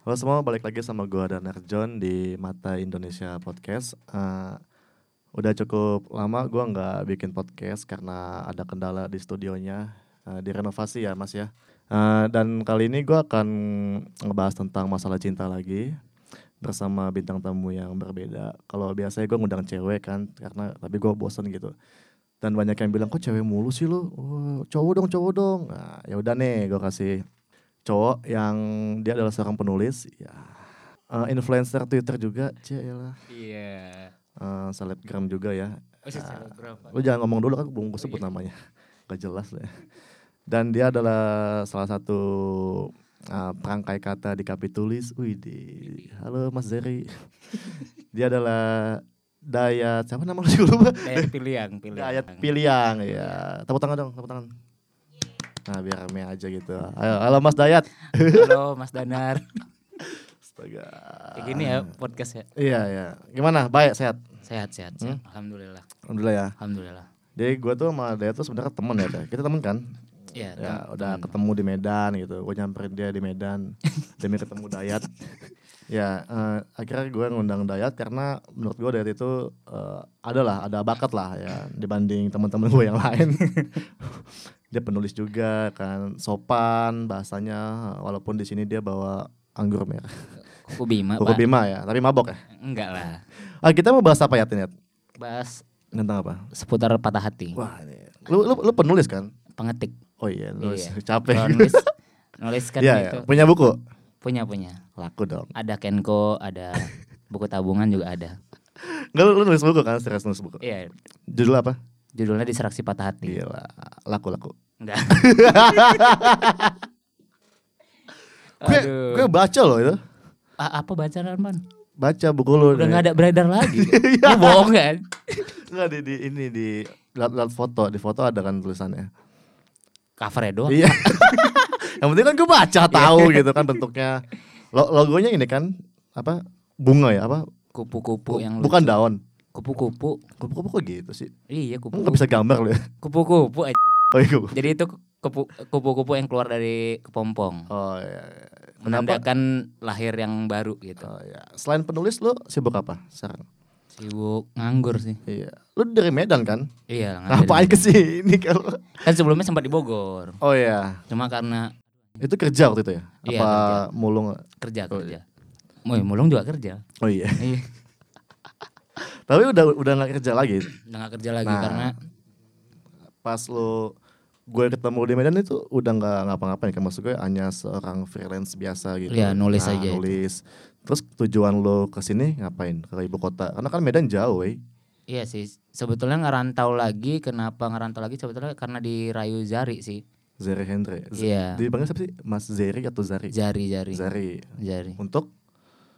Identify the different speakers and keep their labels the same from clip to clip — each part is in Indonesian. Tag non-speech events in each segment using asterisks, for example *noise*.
Speaker 1: Halo semua, balik lagi sama gue Danar John di Mata Indonesia Podcast. Eh, udah cukup lama gue nggak bikin podcast karena ada kendala di studionya, eh, direnovasi ya mas ya. Eh, dan kali ini gue akan ngebahas tentang masalah cinta lagi bersama bintang tamu yang berbeda. Kalau biasanya gue ngundang cewek kan, karena tapi gue bosen gitu. Dan banyak yang bilang kok cewek mulu sih lu, Oh, cowok dong cowok dong. Nah, ya udah nih gue kasih cowok yang dia adalah seorang penulis ya Eh, influencer Twitter juga cielah
Speaker 2: Iya.
Speaker 1: Eh, selebgram juga ya
Speaker 2: Oh, sih selebgram.
Speaker 1: lu jangan ngomong dulu kan belum gue sebut namanya gak jelas lah ya. dan dia adalah salah satu eh, perangkai kata di kapi tulis wih halo Mas Zeri dia adalah Dayat siapa nama lu sih gue lupa
Speaker 2: Dayat pilihan, pilihan.
Speaker 1: Dayat Piliang ya tepuk tangan dong tepuk tangan nah biar rame aja gitu ayo halo Mas Dayat
Speaker 2: Halo Mas Danar.
Speaker 1: Astaga.
Speaker 2: Kayak gini
Speaker 1: Ah.
Speaker 2: ya podcast ya.
Speaker 1: Iya ya. Gimana? Baik sehat.
Speaker 2: Sehat, sehat,
Speaker 1: Hmm?
Speaker 2: sehat. Alhamdulillah.
Speaker 1: Alhamdulillah ya.
Speaker 2: Alhamdulillah.
Speaker 1: Jadi gue tuh sama Daya tuh sebenarnya temen ya. Daya. Kita temen kan?
Speaker 2: Iya,
Speaker 1: Ya, udah ketemu di Medan gitu. Gue nyamperin dia di Medan demi ketemu Dayat. ya, eh, akhirnya gue ngundang Dayat karena menurut gue Dayat itu eh, ada lah, ada bakat lah ya dibanding teman-teman gue yang lain. dia penulis juga kan, sopan bahasanya walaupun di sini dia bawa anggur merah.
Speaker 2: Kuku Bima,
Speaker 1: Kuku
Speaker 2: Pak.
Speaker 1: Bima ya, tapi mabok ya.
Speaker 2: Enggak lah.
Speaker 1: Ah, kita mau bahas apa ya, Tinyat?
Speaker 2: Bahas
Speaker 1: Tentang apa?
Speaker 2: seputar patah hati.
Speaker 1: Wah, ini. Lu, lu lu penulis kan?
Speaker 2: Pengetik.
Speaker 1: Oh iya, nulis
Speaker 2: Iya. Kalau
Speaker 1: *laughs* capek.
Speaker 2: Nulis, nulis kan
Speaker 1: *laughs* Iya,
Speaker 2: itu.
Speaker 1: iya. punya buku?
Speaker 2: Punya, punya.
Speaker 1: Laku dong.
Speaker 2: Ada Kenko, ada buku tabungan juga ada.
Speaker 1: Enggak lu, lu nulis buku kan, serius nulis buku.
Speaker 2: Iya,
Speaker 1: Judul apa?
Speaker 2: judulnya distraksi patah hati.
Speaker 1: Gila, laku-laku. *laughs*
Speaker 2: Enggak.
Speaker 1: Gue
Speaker 2: Aduh.
Speaker 1: gue baca loh itu.
Speaker 2: A- apa bacaan, Man?
Speaker 1: Baca buku lu.
Speaker 2: Udah
Speaker 1: nih.
Speaker 2: nggak ada beredar
Speaker 1: *laughs*
Speaker 2: lagi.
Speaker 1: Iya.
Speaker 2: Lu bohong kan?
Speaker 1: Enggak di, di ini di lihat lihat foto, di foto ada kan tulisannya.
Speaker 2: Covernya doang.
Speaker 1: Iya. *laughs* Yang penting kan gue baca
Speaker 2: Iya.
Speaker 1: tahu gitu kan bentuknya. Lo, logonya ini kan apa? Bunga ya apa?
Speaker 2: kupu-kupu yang lu-
Speaker 1: Bukan daun.
Speaker 2: kupu-kupu
Speaker 1: Kupu-kupu kok gitu sih?
Speaker 2: iya kupu
Speaker 1: Enggak bisa gambar lu ya. *laughs*
Speaker 2: kupu-kupu aja.
Speaker 1: Oh iya. kupu-
Speaker 2: jadi itu kupu- kupu-kupu yang keluar dari kepompong
Speaker 1: Oh iya. iya. Kenapa?
Speaker 2: menandakan lahir yang baru gitu
Speaker 1: Oh, ya. Selain penulis lu sibuk apa sekarang?
Speaker 2: sibuk nganggur sih
Speaker 1: Iya. Lu dari Medan kan?
Speaker 2: iya nganggur.
Speaker 1: Ngapain ke sini kalau?
Speaker 2: kan sebelumnya sempat di Bogor
Speaker 1: Oh iya.
Speaker 2: cuma karena
Speaker 1: Itu kerja waktu itu ya? Apa
Speaker 2: Iya,
Speaker 1: mulung?
Speaker 2: kerja kerja Oh, iya. Woi, mulung juga kerja
Speaker 1: Oh iya. *laughs*
Speaker 2: iya
Speaker 1: Tapi udah udah nggak kerja lagi.
Speaker 2: udah nggak kerja lagi
Speaker 1: Nah.
Speaker 2: karena
Speaker 1: Pas lu gue ketemu di Medan itu udah nggak ngapa-ngapain kan maksud gue hanya seorang freelance biasa gitu.
Speaker 2: Iya, nulis aja itu.
Speaker 1: Nulis. Terus tujuan lo ke sini ngapain? Ke ibu kota? Karena kan Medan jauh, wey.
Speaker 2: iya sih sebetulnya ngerantau lagi kenapa ngerantau lagi sebetulnya karena dirayu Zari sih
Speaker 1: Zeri Hendry. Z-
Speaker 2: Iya.
Speaker 1: Dipanggil siapa sih? Mas Zeri atau Zari?
Speaker 2: Jari Jari
Speaker 1: Zari.
Speaker 2: Jari
Speaker 1: Untuk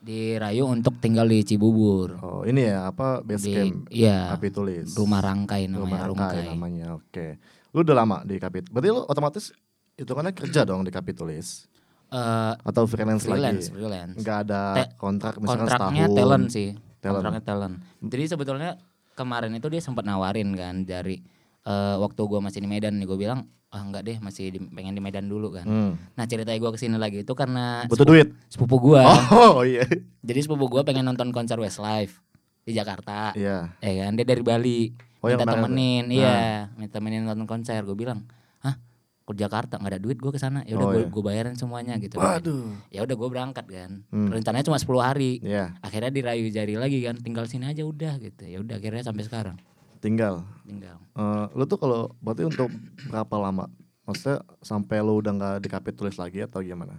Speaker 2: dirayu untuk tinggal di Cibubur
Speaker 1: oh ini ya apa base
Speaker 2: di
Speaker 1: camp
Speaker 2: iya
Speaker 1: Kapi tulis.
Speaker 2: rumah rangkai
Speaker 1: Rumah
Speaker 2: namanya
Speaker 1: Rangkai
Speaker 2: rungkai
Speaker 1: namanya. Oke. Lu udah lama di Kapit. Berarti lu otomatis itu karena kerja dong di Kapit tulis
Speaker 2: Eh,
Speaker 1: atau freelance, lagi?
Speaker 2: freelance freelance
Speaker 1: Enggak ada
Speaker 2: Te-
Speaker 1: kontrak misalkan
Speaker 2: kontraknya
Speaker 1: setahun.
Speaker 2: talent sih
Speaker 1: Talent.
Speaker 2: kontraknya talent jadi sebetulnya kemarin itu dia sempat nawarin kan dari eh, waktu gua masih di Medan nih gue bilang ah enggak deh masih di- pengen di Medan dulu kan
Speaker 1: Hmm.
Speaker 2: nah ceritanya gua kesini lagi itu karena
Speaker 1: Butuh duit.
Speaker 2: sepupu gua
Speaker 1: Oh, iya.
Speaker 2: jadi sepupu gua pengen nonton konser Westlife di Jakarta
Speaker 1: Iya.
Speaker 2: ya kan dia dari Bali
Speaker 1: Oh, yang
Speaker 2: minta
Speaker 1: kemarin
Speaker 2: temenin
Speaker 1: tuh. Nah.
Speaker 2: iya minta temenin nonton konser gue bilang hah ke Jakarta nggak ada duit gue ke sana ya udah
Speaker 1: Oh,
Speaker 2: gue
Speaker 1: iya.
Speaker 2: gue bayarin semuanya gitu
Speaker 1: Waduh.
Speaker 2: ya udah gue berangkat kan
Speaker 1: Hmm.
Speaker 2: rencananya cuma 10 hari
Speaker 1: Iya,
Speaker 2: akhirnya dirayu jari lagi kan tinggal sini aja udah gitu ya udah akhirnya sampai sekarang
Speaker 1: tinggal.
Speaker 2: tinggal
Speaker 1: Eh, lu tuh kalau berarti untuk berapa lama? Maksudnya sampai lu udah nggak di Kapit tulis lagi atau gimana?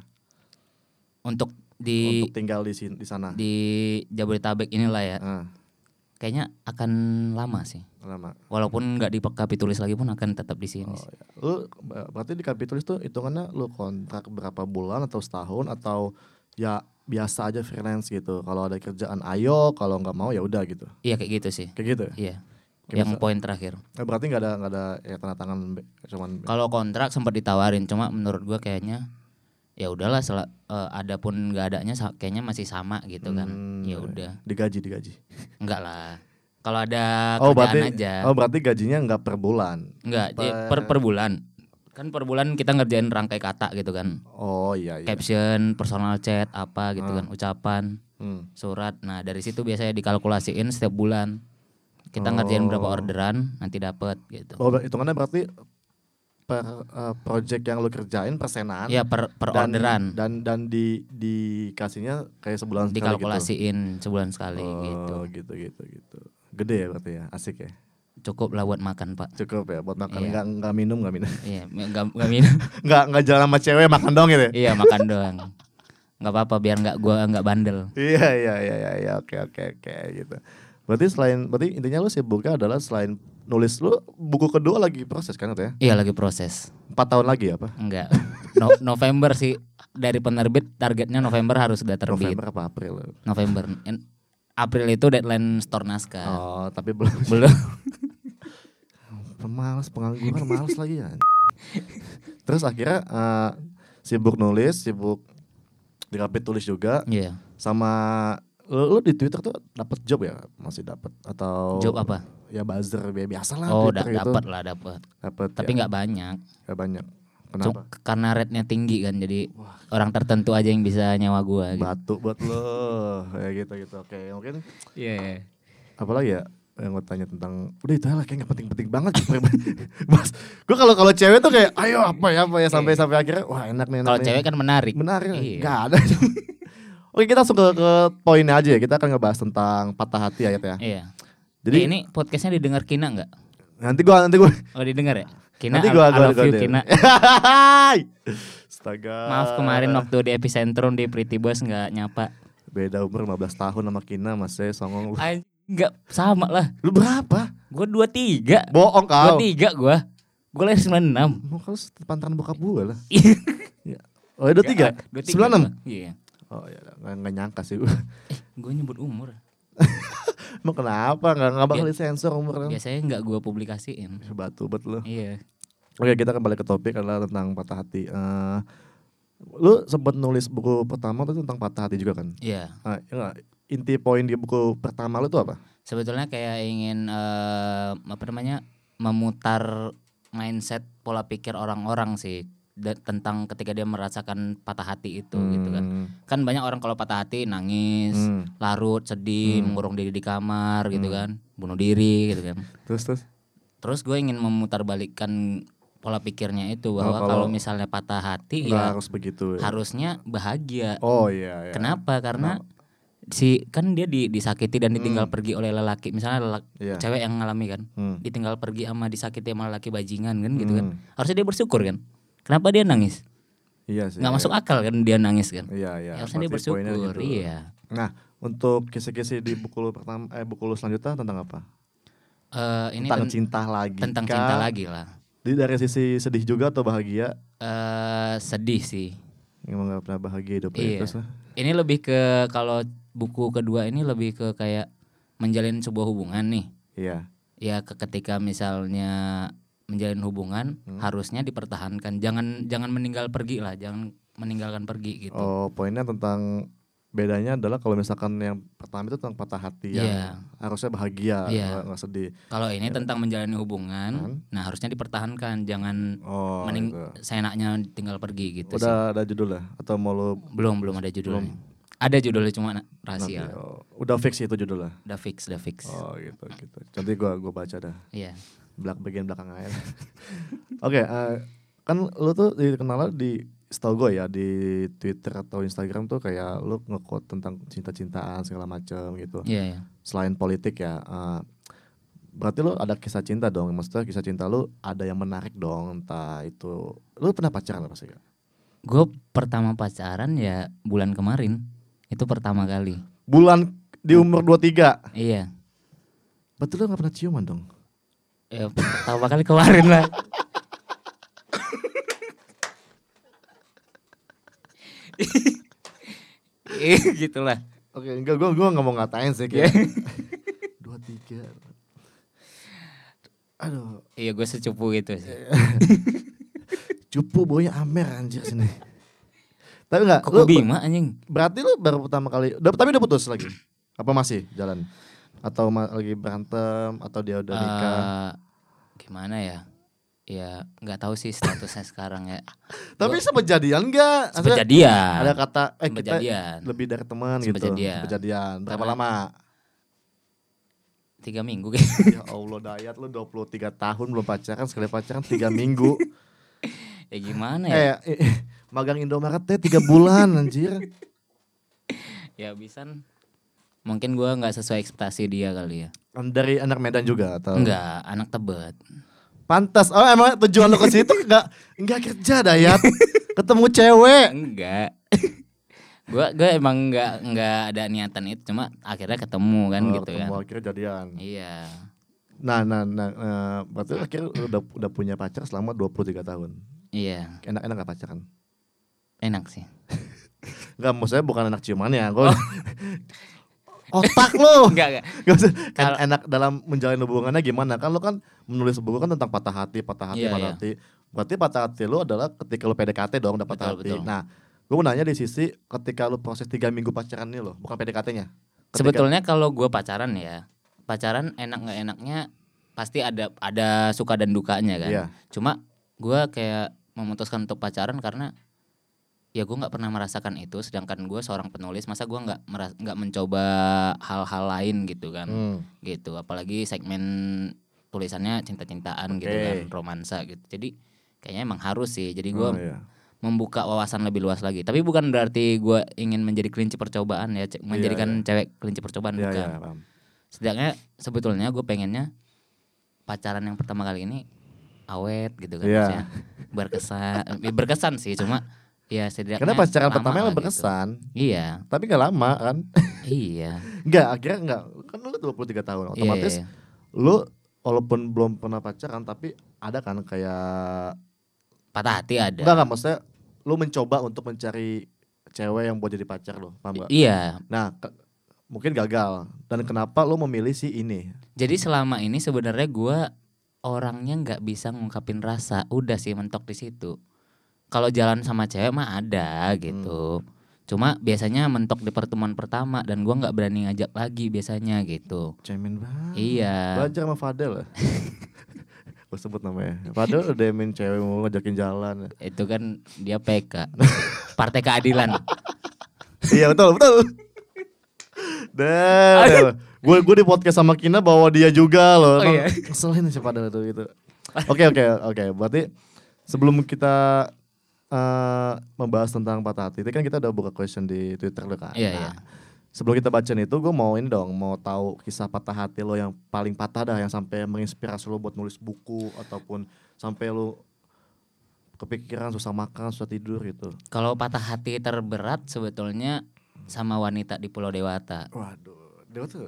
Speaker 2: untuk di
Speaker 1: Untuk tinggal di sin- di sana.
Speaker 2: di Jabodetabek inilah ya
Speaker 1: Ah,
Speaker 2: kayaknya akan lama sih
Speaker 1: lama.
Speaker 2: walaupun nggak di kapi tulis lagi pun akan tetap di sini
Speaker 1: Oh,
Speaker 2: sih.
Speaker 1: iya. Lu ber- berarti di kapitalis tuh hitungannya lu kontrak berapa bulan atau setahun atau ya biasa aja freelance gitu. Kalau ada kerjaan ayo, kalau nggak mau ya udah gitu.
Speaker 2: iya kayak gitu sih
Speaker 1: Kayak gitu. ya?
Speaker 2: iya
Speaker 1: Kayak
Speaker 2: yang poin terakhir
Speaker 1: Eh, berarti nggak ada nggak ada ya tanda tangan be- cuman
Speaker 2: Kalau kontrak sempat ditawarin, cuma menurut gua kayaknya ya udahlah sel- eh, ada pun nggak adanya sa- kayaknya masih sama gitu kan.
Speaker 1: Hmm,
Speaker 2: Ya udah,
Speaker 1: digaji digaji.
Speaker 2: enggak lah. Kalau ada
Speaker 1: Oh
Speaker 2: Ya, kerjaan
Speaker 1: berarti
Speaker 2: aja.
Speaker 1: oh berarti gajinya nggak per bulan.
Speaker 2: Enggak, per,
Speaker 1: per-
Speaker 2: per per bulan. kan per bulan kita ngerjain rangkai kata gitu kan
Speaker 1: Oh iya iya. Ah.
Speaker 2: caption personal chat apa gitu kan ucapan
Speaker 1: Hmm.
Speaker 2: surat nah dari situ biasanya dikalkulasiin setiap bulan kita ngerjain berapa orderan nanti dapat gitu
Speaker 1: Oh ber- hitungannya berarti per eh, project yang lu kerjain persenan.
Speaker 2: Iya per per
Speaker 1: dan,
Speaker 2: orderan
Speaker 1: dan dan di dikasihnya kayak sebulan sekali gitu.
Speaker 2: dikalkulasiin sebulan sekali gitu.
Speaker 1: Oh, gitu gitu gitu. Gede ya berarti ya, asik ya.
Speaker 2: Cukup lah buat makan, Pak.
Speaker 1: Cukup ya buat makan,
Speaker 2: Iya.
Speaker 1: nggak nggak minum nggak minum, *laughs*
Speaker 2: Iya, enggak enggak minum. *laughs*
Speaker 1: nggak nggak jalan sama cewek makan dong gitu. ya?
Speaker 2: iya, makan doang. Enggak apa-apa biar enggak gua enggak bandel.
Speaker 1: Iya iya iya iya iya, oke oke oke gitu. Berarti selain berarti intinya lu sibuknya adalah selain nulis lu buku kedua lagi proses kan katanya?
Speaker 2: Iya, lagi proses.
Speaker 1: Empat tahun lagi ya, apa?
Speaker 2: Enggak. No- November sih dari penerbit targetnya November harus sudah terbit.
Speaker 1: November apa April?
Speaker 2: Nah. November. En- April itu deadline store naskah.
Speaker 1: Oh tapi belum *laughs*
Speaker 2: Belum.
Speaker 1: Pemalas pengangguran malas lagi ya. Terus akhirnya eh, sibuk nulis, sibuk di rapid tulis juga
Speaker 2: Iya.
Speaker 1: sama lu, lu di Twitter tuh dapat job ya? Masih dapat atau
Speaker 2: Job apa?
Speaker 1: Ya buzzer bi- biasa lah
Speaker 2: Oh, da-
Speaker 1: Twitter gitu.
Speaker 2: dapat lah, dapat.
Speaker 1: Dapat.
Speaker 2: Tapi
Speaker 1: ya,
Speaker 2: enggak banyak.
Speaker 1: nggak banyak. Kenapa?
Speaker 2: Cuma karena rate-nya tinggi kan jadi orang tertentu aja yang bisa nyewa gua gitu.
Speaker 1: Batu buat lo *laughs* ya gitu gitu. Oke, mungkin
Speaker 2: Iya. iya.
Speaker 1: apalagi ya yang gue tanya tentang udah itu lah kayak gak penting-penting banget gitu. *laughs* Mas, gue kalau kalau cewek tuh kayak ayo apa ya apa ya sampai sampai akhirnya wah enak nih enak
Speaker 2: Iya. Kalau
Speaker 1: nih.
Speaker 2: cewek kan menarik.
Speaker 1: Menarik,
Speaker 2: Iya.
Speaker 1: nggak ada. *laughs* Oke kita langsung ke, ke poinnya aja ya. Kita akan ngebahas tentang patah hati ayat ya.
Speaker 2: Iya.
Speaker 1: Jadi
Speaker 2: Jadi ini podcastnya didengar Kina nggak?
Speaker 1: nanti gua nanti gua
Speaker 2: Oh didengar ya? Kina,
Speaker 1: nanti
Speaker 2: I-
Speaker 1: gua
Speaker 2: I
Speaker 1: gua
Speaker 2: love you, Kina.
Speaker 1: *laughs* Astaga.
Speaker 2: Maaf kemarin waktu di epicentrum di Pretty Boys nggak nyapa.
Speaker 1: Beda umur 15 tahun sama Kina Mas saya songong lu.
Speaker 2: Anj- Nggak sama lah.
Speaker 1: Lu berapa?
Speaker 2: Gue dua tiga.
Speaker 1: Bohong
Speaker 2: Dua
Speaker 1: kau.
Speaker 2: tiga gue. Gue lahir sembilan enam.
Speaker 1: Mau kau sepantaran bokap gue
Speaker 2: *laughs*
Speaker 1: lah.
Speaker 2: Iya.
Speaker 1: Ya. Oh, ya
Speaker 2: Ah,
Speaker 1: 23.
Speaker 2: Sembilan enam.
Speaker 1: 96.
Speaker 2: Iya.
Speaker 1: Oh, ya nggak nggak nyangka sih. *laughs*
Speaker 2: Gue nyebut umur.
Speaker 1: Emang kenapa nggak nggak
Speaker 2: Iya.
Speaker 1: bakal disensor umurnya?
Speaker 2: Biasanya nggak gue publikasiin.
Speaker 1: Batu bet lu.
Speaker 2: Iya.
Speaker 1: Oke kita kembali ke topik adalah tentang patah hati. Eh, lu sempat nulis buku pertama tuh tentang patah hati juga kan?
Speaker 2: Iya.
Speaker 1: Ah, iya nggak? inti poin di buku pertama lu tuh apa?
Speaker 2: sebetulnya kayak ingin eh, apa namanya memutar mindset pola pikir orang-orang sih da- tentang ketika dia merasakan patah hati itu gitu kan
Speaker 1: Hmm,
Speaker 2: kan banyak orang kalau patah hati nangis
Speaker 1: hmm.
Speaker 2: larut sedih mengurung diri di kamar gitu kan bunuh diri gitu kan
Speaker 1: Terus terus.
Speaker 2: terus gue ingin memutarbalikkan pola pikirnya itu bahwa
Speaker 1: Oh, kalau-
Speaker 2: kalau misalnya patah hati
Speaker 1: Nggak
Speaker 2: ya
Speaker 1: harus begitu. ya?
Speaker 2: harusnya bahagia
Speaker 1: Oh iya. iya.
Speaker 2: Kenapa? Karena si kan dia di- disakiti dan ditinggal pergi oleh lelaki. Misalnya lelaki,
Speaker 1: Hmm. Iya.
Speaker 2: cewek yang ngalami kan,
Speaker 1: Hmm.
Speaker 2: ditinggal pergi sama disakiti sama lelaki bajingan kan gitu kan.
Speaker 1: Hmm.
Speaker 2: Harusnya dia bersyukur kan. Kenapa dia nangis?
Speaker 1: Iya sih.
Speaker 2: nggak masuk akal kan dia nangis kan.
Speaker 1: Iya iya.
Speaker 2: Harusnya dia
Speaker 1: Berarti poinnya
Speaker 2: bersyukur.
Speaker 1: gitu.
Speaker 2: Iya.
Speaker 1: Nah untuk kisi-kisi di buku lu pertama eh buku lu selanjutnya tentang apa?
Speaker 2: Eh, ini
Speaker 1: tentang
Speaker 2: ten-
Speaker 1: cinta lagi.
Speaker 2: tentang
Speaker 1: kah?
Speaker 2: cinta lagi lah.
Speaker 1: Jadi dari sisi sedih juga atau bahagia?
Speaker 2: Eh sedih sih.
Speaker 1: Emang nggak pernah bahagia hidupnya
Speaker 2: Iya.
Speaker 1: terus lah.
Speaker 2: Ini lebih ke kalau buku kedua ini lebih ke kayak menjalin sebuah hubungan nih.
Speaker 1: Iya.
Speaker 2: ya ke- ketika misalnya menjalin hubungan
Speaker 1: Hmm.
Speaker 2: harusnya dipertahankan jangan jangan meninggal pergi lah jangan meninggalkan pergi gitu
Speaker 1: Oh, poinnya tentang bedanya adalah kalau misalkan yang pertama itu tentang patah hati ya.
Speaker 2: Iya.
Speaker 1: Harusnya bahagia,
Speaker 2: Iya.
Speaker 1: nggak nggak sedih.
Speaker 2: kalau ini tentang menjalani hubungan
Speaker 1: Iya. Hmm.
Speaker 2: nah harusnya dipertahankan jangan
Speaker 1: Oh,
Speaker 2: mening
Speaker 1: gitu.
Speaker 2: seenaknya tinggal pergi gitu sih.
Speaker 1: Udah ada judul ya atau mau lu
Speaker 2: belum belum ada judulnya ada judulnya cuma na-
Speaker 1: nanti?
Speaker 2: rahasia
Speaker 1: Oh, udah fix itu judulnya.
Speaker 2: udah fix udah fix
Speaker 1: Oh, gitu gitu. Nanti gua gua baca dah.
Speaker 2: iya
Speaker 1: Belak bagian belakang aja. *laughs* Oke, eh, kan lu tuh dikenal di setahu gue ya di Twitter atau Instagram tuh kayak lu nge-quote tentang cinta-cintaan segala macam gitu.
Speaker 2: iya iya.
Speaker 1: selain politik ya eh, berarti lu ada kisah cinta dong maksudnya kisah cinta lu ada yang menarik dong entah itu lu pernah pacaran apa sih Kak?
Speaker 2: gue pertama pacaran ya bulan kemarin itu pertama kali
Speaker 1: bulan di umur 23
Speaker 2: iya
Speaker 1: berarti lu gak pernah ciuman dong
Speaker 2: Ya, pertama kali kemarin lah. Ih, Iya, gitulah.
Speaker 1: oke enggak gua gua nggak mau ngatain sih kayak *laughs* 23 aduh
Speaker 2: Iya, gue secupu gitu sih.
Speaker 1: cupu boynya amer anjir sini tapi enggak
Speaker 2: Kok
Speaker 1: lu
Speaker 2: gua Bima anjing?
Speaker 1: berarti lu baru pertama kali udah- tapi udah putus lagi apa masih jalan atau ma- lagi berantem atau dia udah nikah
Speaker 2: Eh, gimana ya? ya nggak tahu sih statusnya sekarang ya
Speaker 1: Tapi sempat jadian nggak? Maksudnya Ada
Speaker 2: kejadian
Speaker 1: kata eh kita
Speaker 2: kejadian
Speaker 1: lebih dari teman gitu.
Speaker 2: Sebejadian.
Speaker 1: Sebejadian. Berapa
Speaker 2: Karena-
Speaker 1: lama? *laughs*
Speaker 2: tiga minggu *laughs* kayak
Speaker 1: ya Allah dayat lu 23 tahun belum pacaran sekali pacaran 3 minggu.
Speaker 2: ya gimana ya
Speaker 1: eh, eh, *laughs* eh, magang Indomaret teh 3 bulan *laughs* anjir.
Speaker 2: ya habisan mungkin gua nggak sesuai ekspektasi dia kali ya
Speaker 1: Kan Dari anak Medan juga atau?
Speaker 2: enggak anak tebet
Speaker 1: Pantas. Oh emang tujuan lo ke situ enggak enggak kerja
Speaker 2: *laughs*
Speaker 1: dayat. Ketemu cewek.
Speaker 2: enggak *laughs* gua gua emang nggak nggak ada niatan itu cuma akhirnya ketemu kan
Speaker 1: Oh,
Speaker 2: gitu
Speaker 1: ketemu,
Speaker 2: kan
Speaker 1: Akhirnya jadian.
Speaker 2: iya
Speaker 1: Nah, nah, nah, eh, berarti akhirnya lu udah udah punya pacar selama 23 tahun.
Speaker 2: iya
Speaker 1: Enak-enak gak pacaran?
Speaker 2: enak sih
Speaker 1: Enggak, maksudnya bukan anak ciumannya. Gua *laughs*
Speaker 2: Oh.
Speaker 1: otak lu.
Speaker 2: enggak enggak
Speaker 1: Gak usah. Kan
Speaker 2: Kalau-
Speaker 1: enak dalam menjalin hubungannya gimana? Kan lu kan menulis buku kan tentang patah hati, patah hati,
Speaker 2: Iya,
Speaker 1: patah
Speaker 2: iya.
Speaker 1: hati. Berarti patah hati lu adalah ketika lu PDKT dong dapat
Speaker 2: Betul,
Speaker 1: patah hati.
Speaker 2: betul.
Speaker 1: Nah, gue mau nanya di sisi ketika lu proses tiga minggu pacaran ini loh, bukan PDKT-nya. Ketika-
Speaker 2: sebetulnya kalau gua pacaran ya pacaran enak nggak enaknya pasti ada ada suka dan dukanya kan
Speaker 1: Iya.
Speaker 2: cuma gua kayak memutuskan untuk pacaran karena ya gua nggak pernah merasakan itu sedangkan gua seorang penulis masa gua nggak meras- nggak mencoba hal-hal lain gitu kan
Speaker 1: Hmm.
Speaker 2: gitu apalagi segmen tulisannya cinta-cintaan gitu
Speaker 1: Oke.
Speaker 2: kan romansa gitu jadi kayaknya emang harus sih jadi
Speaker 1: Oh,
Speaker 2: gua
Speaker 1: iya.
Speaker 2: membuka wawasan lebih luas lagi tapi bukan berarti gua ingin menjadi kelinci percobaan ya ce- menjadikan cewek kelinci percobaan
Speaker 1: Iya,
Speaker 2: kan bukan
Speaker 1: iya, paham.
Speaker 2: setidaknya sebetulnya gue pengennya pacaran yang pertama kali ini awet gitu kan
Speaker 1: Iya.
Speaker 2: maksudnya.
Speaker 1: *laughs*
Speaker 2: berkesan eh, berkesan sih cuma ya setidaknya
Speaker 1: Karena pacaran
Speaker 2: lama
Speaker 1: pertama
Speaker 2: lah
Speaker 1: emang
Speaker 2: gitu.
Speaker 1: berkesan,
Speaker 2: iya
Speaker 1: tapi gak lama kan. *laughs*
Speaker 2: iya
Speaker 1: Enggak, akhirnya enggak. Kan lu 23 tahun,
Speaker 2: iya,
Speaker 1: otomatis
Speaker 2: iya.
Speaker 1: lu walaupun belum pernah pacaran tapi ada kan kayak
Speaker 2: patah hati ada
Speaker 1: enggak enggak maksudnya lu mencoba untuk mencari cewek yang buat jadi pacar lo, paham gak?
Speaker 2: iya
Speaker 1: Nah, ke- mungkin gagal. Dan kenapa lu memilih si ini?
Speaker 2: Jadi selama ini sebenarnya gua orangnya nggak bisa ngungkapin rasa, udah sih mentok di situ. Kalau jalan sama cewek mah ada gitu.
Speaker 1: Hmm.
Speaker 2: Cuma biasanya mentok di pertemuan pertama dan gua nggak berani ngajak lagi biasanya gitu.
Speaker 1: Cemen banget.
Speaker 2: Iya.
Speaker 1: Belajar sama *laughs* Fadel. Gue sebut namanya. Fadel udah main cewek mau ngajakin jalan. ya.
Speaker 2: Itu kan dia PK. Partai Keadilan.
Speaker 1: iya betul betul. Dan gue gue di podcast sama Kina bawa dia juga loh.
Speaker 2: Oh,
Speaker 1: Emang
Speaker 2: iya.
Speaker 1: Keselin sih padahal itu gitu. Oke oke oke. Berarti sebelum kita eh, membahas tentang patah hati, itu kan kita udah buka question di Twitter lo kan.
Speaker 2: Iya,
Speaker 1: Nah,
Speaker 2: iya.
Speaker 1: Sebelum kita bacain itu, gue mau ini dong, mau tahu kisah patah hati lo yang paling patah dah, yang sampai menginspirasi lo buat nulis buku ataupun sampai lo kepikiran susah makan, susah tidur gitu.
Speaker 2: Kalau patah hati terberat sebetulnya sama wanita di Pulau Dewata.
Speaker 1: Waduh, dia tuh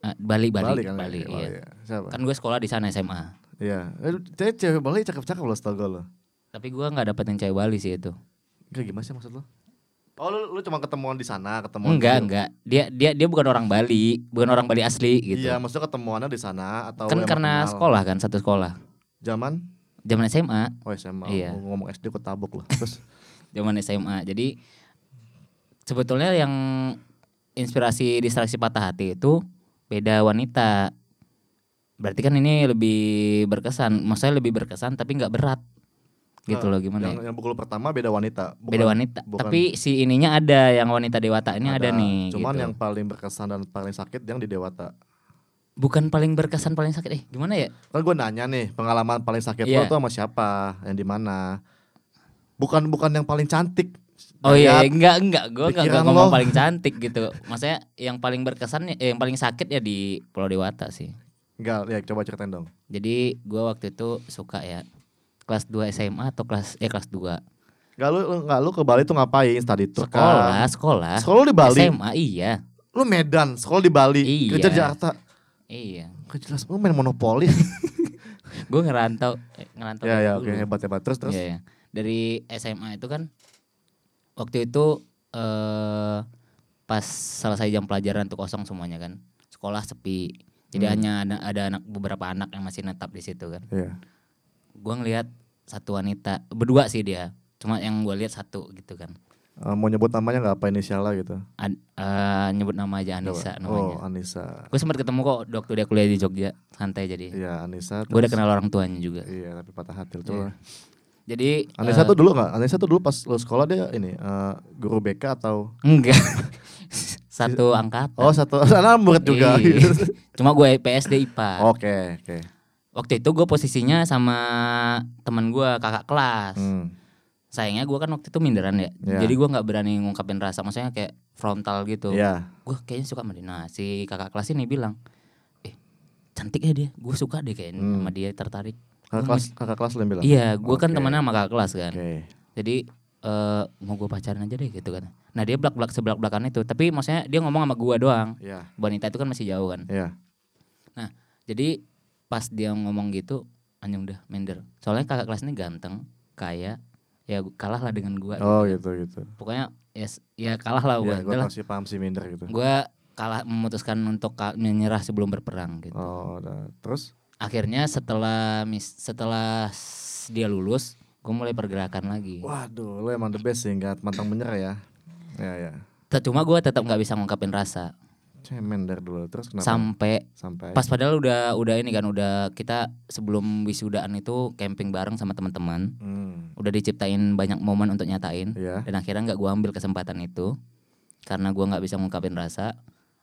Speaker 2: Eh, Bali Bali Bali,
Speaker 1: kan ya?
Speaker 2: iya.
Speaker 1: ya. Siapa?
Speaker 2: Kan gue sekolah di sana SMA.
Speaker 1: Iya. Eh, Tapi cewek Bali cakep-cakep loh setahu gue lo.
Speaker 2: Tapi gua nggak dapetin cewek Bali sih itu.
Speaker 1: Gak gimana sih maksud lo? Oh lu, lu cuma ketemuan di sana, ketemuan
Speaker 2: Enggak,
Speaker 1: di-
Speaker 2: enggak. Dia dia dia bukan orang Bali, bukan orang Bali asli gitu.
Speaker 1: Iya, maksudnya ketemuannya di sana atau
Speaker 2: kan
Speaker 1: lu emang
Speaker 2: karena
Speaker 1: kenal?
Speaker 2: sekolah kan, satu sekolah.
Speaker 1: Zaman?
Speaker 2: Zaman SMA,
Speaker 1: Oh SMA.
Speaker 2: Iya.
Speaker 1: Gua ngomong SD kok tabuk
Speaker 2: *laughs*
Speaker 1: loh. Terus
Speaker 2: zaman SMA. Jadi sebetulnya yang inspirasi distraksi patah hati itu beda wanita. Berarti kan ini lebih berkesan, maksudnya lebih berkesan tapi nggak berat. Gitu
Speaker 1: Nah,
Speaker 2: loh gimana? ya?
Speaker 1: yang, yang pukul pertama beda wanita. bukan-
Speaker 2: beda wanita.
Speaker 1: bukan-
Speaker 2: Tapi si ininya ada yang wanita dewata ini ada, nih
Speaker 1: Cuman
Speaker 2: gitu.
Speaker 1: yang paling berkesan dan paling sakit yang di Dewata.
Speaker 2: bukan paling berkesan paling sakit eh gimana ya?
Speaker 1: Kan gue nanya nih, pengalaman paling sakit
Speaker 2: Iya.
Speaker 1: lo tuh sama siapa? Yang di mana? Bukan bukan yang paling cantik.
Speaker 2: Oh iya,
Speaker 1: Dayat.
Speaker 2: enggak enggak, gue enggak, enggak
Speaker 1: Pikiran
Speaker 2: ngomong
Speaker 1: lo.
Speaker 2: paling cantik gitu. Maksudnya yang paling berkesan, eh, yang paling sakit ya di Pulau Dewata sih.
Speaker 1: Enggak, ya coba ceritain dong.
Speaker 2: Jadi gua waktu itu suka ya kelas 2 SMA atau kelas eh kelas 2
Speaker 1: Enggak lu lu- enggak lu ke Bali tuh ngapain tadi tuh?
Speaker 2: sekolah sekolah
Speaker 1: Sekolah lu di Bali.
Speaker 2: SMA iya
Speaker 1: Lu Medan, sekolah di Bali,
Speaker 2: Iya.
Speaker 1: kerja di Jakarta.
Speaker 2: iya
Speaker 1: Gak jelas lu main monopoli.
Speaker 2: *laughs* gue ngerantau eh, ngerantau
Speaker 1: ya ya
Speaker 2: dulu.
Speaker 1: oke hebat hebat. Terus terus.
Speaker 2: Iya, iya. dari SMA itu kan waktu itu eh pas selesai jam pelajaran tuh kosong semuanya kan sekolah sepi
Speaker 1: Hmm.
Speaker 2: jadi hanya ada, ada anak beberapa anak yang masih netap di situ kan
Speaker 1: Iya.
Speaker 2: gue ngelihat satu wanita berdua sih dia cuma yang gue lihat satu gitu kan
Speaker 1: Eh, mau nyebut namanya nggak apa inisialnya gitu?
Speaker 2: An- eh, nyebut nama aja
Speaker 1: Oh,
Speaker 2: Anissa namanya.
Speaker 1: Anissa.
Speaker 2: Gue sempat ketemu kok waktu dia kuliah di Jogja, santai jadi.
Speaker 1: Iya, Anissa.
Speaker 2: Gue udah
Speaker 1: terus-
Speaker 2: kenal orang tuanya juga.
Speaker 1: Iya, tapi patah hati tuh.
Speaker 2: Iya. Jadi
Speaker 1: Anissa
Speaker 2: eh,
Speaker 1: tuh dulu nggak? Anissa tuh dulu pas lu sekolah dia ini eh, guru BK atau
Speaker 2: eh, enggak *laughs* satu angkatan.
Speaker 1: Oh, satu *laughs* sana murid juga. Oh.
Speaker 2: Iya.
Speaker 1: *laughs* gitu.
Speaker 2: Cuma gue IPS dia IPA.
Speaker 1: Oke, oke.
Speaker 2: Waktu itu gue posisinya sama teman gue kakak kelas.
Speaker 1: Hmm.
Speaker 2: Sayangnya gue kan waktu itu minderan ya.
Speaker 1: Iya.
Speaker 2: Jadi gue nggak berani ngungkapin rasa. Maksudnya kayak frontal gitu.
Speaker 1: Iya.
Speaker 2: Gue kayaknya suka sama dia. Nah si kakak kelas ini bilang, eh cantik ya dia. Gue suka deh kayaknya
Speaker 1: Hmm.
Speaker 2: sama dia tertarik.
Speaker 1: Kakak
Speaker 2: Gua
Speaker 1: kelas kakak kelas lu yang bilang.
Speaker 2: Iya, gue
Speaker 1: Oke.
Speaker 2: kan temenan sama kakak kelas kan.
Speaker 1: Oke.
Speaker 2: Jadi eh, mau gue pacaran aja deh gitu kan. Nah dia belak belak sebelak belakan itu. Tapi maksudnya dia ngomong sama gue doang.
Speaker 1: Iya.
Speaker 2: Wanita itu kan masih jauh kan.
Speaker 1: Iya.
Speaker 2: Jadi pas dia ngomong gitu, anjing udah minder. Soalnya kakak kelas ini ganteng, kaya, ya gu- kalah lah dengan gua.
Speaker 1: Oh, gitu gitu.
Speaker 2: Pokoknya ya, s- ya kalah lah
Speaker 1: Iya,
Speaker 2: gua. Udah
Speaker 1: gua
Speaker 2: lah.
Speaker 1: pasti paham sih minder gitu.
Speaker 2: Gua kalah memutuskan untuk ka- menyerah sebelum berperang gitu.
Speaker 1: Oh, udah. Terus
Speaker 2: Akhirnya setelah mis- setelah s- dia lulus, gua mulai pergerakan lagi.
Speaker 1: waduh, lu emang the best sih nggak pantang menyerah ya. Iya, iya.
Speaker 2: Te- Cuma gua tetap nggak bisa ngungkapin rasa
Speaker 1: Cemen dari dulu. Terus kenapa?
Speaker 2: sampai
Speaker 1: Sampai.
Speaker 2: pas padahal udah udah ini kan udah kita sebelum wisudaan itu camping bareng sama teman-teman.
Speaker 1: Hmm.
Speaker 2: Udah diciptain banyak momen untuk nyatain.
Speaker 1: Iya.
Speaker 2: dan akhirnya nggak gua ambil kesempatan itu karena gua nggak bisa ngungkapin rasa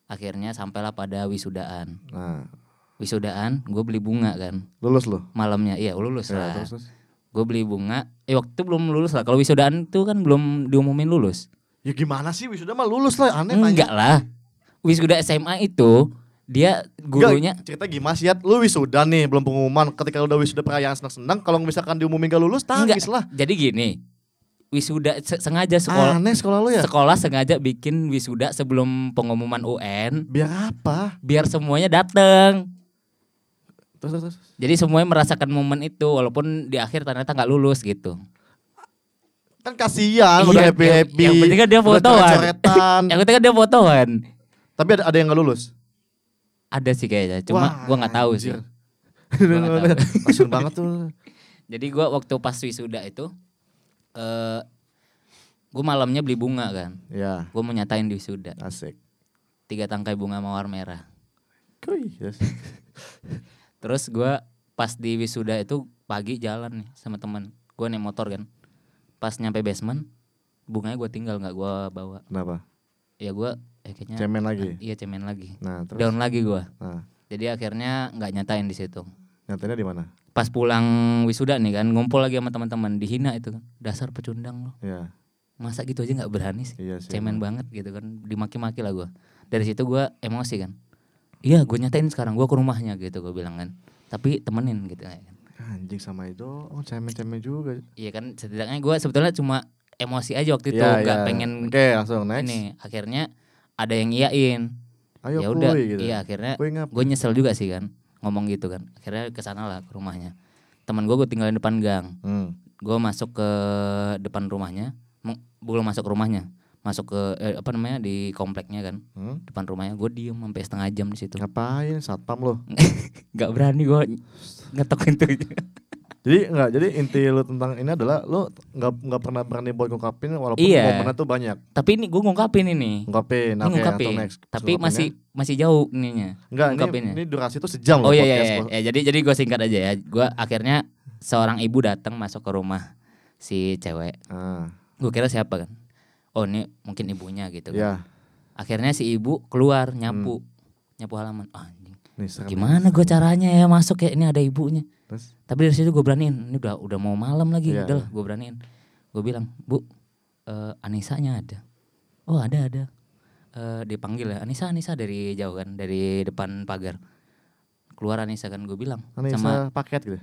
Speaker 2: akhirnya sampailah pada wisudaan
Speaker 1: Nah,
Speaker 2: wisudaan gue beli bunga kan
Speaker 1: lulus lu.
Speaker 2: malamnya iya lulus
Speaker 1: Iya,
Speaker 2: lah
Speaker 1: terus terus.
Speaker 2: gue beli bunga eh waktu itu belum lulus lah kalau wisudaan tuh kan belum diumumin lulus
Speaker 1: Ya gimana sih wisuda mah lulus lah aneh
Speaker 2: enggak lah wisuda SMA itu dia gurunya
Speaker 1: Enggak, cerita gimana sih Yat? Lu wisuda nih belum pengumuman. Ketika lu udah wisuda perayaan senang-senang, kalau misalkan diumumin gak lulus tangis lah.
Speaker 2: jadi gini wisuda se- sengaja sekolah
Speaker 1: Aneh sekolah lu ya.
Speaker 2: sekolah sengaja bikin wisuda sebelum pengumuman UN
Speaker 1: Biar apa?
Speaker 2: biar semuanya dateng
Speaker 1: Terus terus. terus.
Speaker 2: Jadi semuanya merasakan momen itu walaupun di akhir ternyata nggak lulus gitu.
Speaker 1: Kan kasihan udah
Speaker 2: Iya,
Speaker 1: happy happy.
Speaker 2: yang- yang penting kan dia fotoan.
Speaker 1: coretan.
Speaker 2: *laughs* Yang penting kan dia fotoan.
Speaker 1: Tapi ada, ada yang gak lulus.
Speaker 2: Ada sih kayaknya, cuma
Speaker 1: Wah,
Speaker 2: gua nggak tahu sih.
Speaker 1: anjir.
Speaker 2: Gua nggak tahu.
Speaker 1: Kasian banget
Speaker 2: *laughs*
Speaker 1: tuh.
Speaker 2: Jadi gua waktu pas wisuda itu eh gua malamnya beli bunga kan.
Speaker 1: Ya,
Speaker 2: Gua mau nyatain di wisuda
Speaker 1: asik.
Speaker 2: tiga tangkai bunga mawar merah.
Speaker 1: Kuy. Yes.
Speaker 2: Terus gua pas di wisuda itu pagi jalan nih sama teman. Gua naik motor kan. Pas nyampe basement bunganya gua tinggal nggak gua bawa.
Speaker 1: Kenapa?
Speaker 2: Ya gua eh, kayaknya
Speaker 1: Cemen lagi.
Speaker 2: iya cemen lagi.
Speaker 1: Nah, terus.
Speaker 2: Down lagi gua.
Speaker 1: Nah,
Speaker 2: Jadi akhirnya nggak nyatain di situ.
Speaker 1: nyatanya di mana?
Speaker 2: Pas pulang wisuda nih kan, ngumpul lagi sama teman-teman, dihina itu kan. Dasar pecundang lo.
Speaker 1: Ya,
Speaker 2: Masa gitu aja nggak berani sih?
Speaker 1: iya sih.
Speaker 2: Cemen banget gitu kan, dimaki-maki lah gua. Dari situ gua emosi kan. Iya, gue nyatain sekarang gua ke rumahnya gitu gue bilang kan. Tapi temenin gitu kan.
Speaker 1: Anjing sama itu, oh cemen-cemen juga.
Speaker 2: Iya kan, setidaknya gua sebetulnya cuma emosi aja waktu itu,
Speaker 1: Ya,
Speaker 2: nggak
Speaker 1: ya.
Speaker 2: pengen
Speaker 1: Oke, langsung next.
Speaker 2: ini. Akhirnya ada yang iyain.
Speaker 1: Ayo
Speaker 2: Ya udah,
Speaker 1: kuy, gitu.
Speaker 2: iya akhirnya
Speaker 1: Kuy ngap.
Speaker 2: gue nyesel juga sih kan ngomong gitu kan akhirnya kesana lah ke rumahnya teman gue gue tinggalin depan gang
Speaker 1: Hmm.
Speaker 2: gue masuk ke depan rumahnya Meng- belum masuk ke rumahnya masuk ke eh, apa namanya di kompleknya kan
Speaker 1: Hmm?
Speaker 2: depan rumahnya gue diem sampai setengah jam di situ
Speaker 1: Ngapain satpam lo?
Speaker 2: Nah. nggak berani gue ngetok pintunya
Speaker 1: Jadi enggak, jadi inti lu tentang ini adalah lu nggak nggak pernah berani buat ngungkapin walaupun
Speaker 2: Iya.
Speaker 1: momennya tuh banyak.
Speaker 2: tapi ini gue ngungkapin ini
Speaker 1: Ngungkapin,
Speaker 2: Ini
Speaker 1: oke,
Speaker 2: ngungkapin
Speaker 1: atau next.
Speaker 2: tapi
Speaker 1: Ngungkapinnya.
Speaker 2: masih masih jauh ininya
Speaker 1: enggak ini,
Speaker 2: ngungkapinnya.
Speaker 1: ini durasi tuh sejam loh
Speaker 2: oh iya iya,
Speaker 1: podcast
Speaker 2: iya.
Speaker 1: lo.
Speaker 2: Ya, jadi jadi gue singkat aja ya gue akhirnya seorang ibu datang masuk ke rumah si cewek
Speaker 1: Ah,
Speaker 2: gue kira siapa kan oh ini mungkin ibunya gitu kan.
Speaker 1: ya,
Speaker 2: akhirnya si ibu keluar nyapu nyapu halaman Ah,
Speaker 1: nih
Speaker 2: anjing
Speaker 1: Hmm. serem.
Speaker 2: gimana gue caranya ya masuk ya ini ada ibunya
Speaker 1: Terus
Speaker 2: tapi dari situ gue beraniin ini udah udah mau malam lagi
Speaker 1: Iya,
Speaker 2: udah gue beraniin gue bilang bu eh, Anisanya ada oh ada ada Eh, dipanggil ya Anissa Anissa dari jauh kan dari depan pagar keluar Anissa kan gue bilang
Speaker 1: Anissa
Speaker 2: sama
Speaker 1: paket gitu.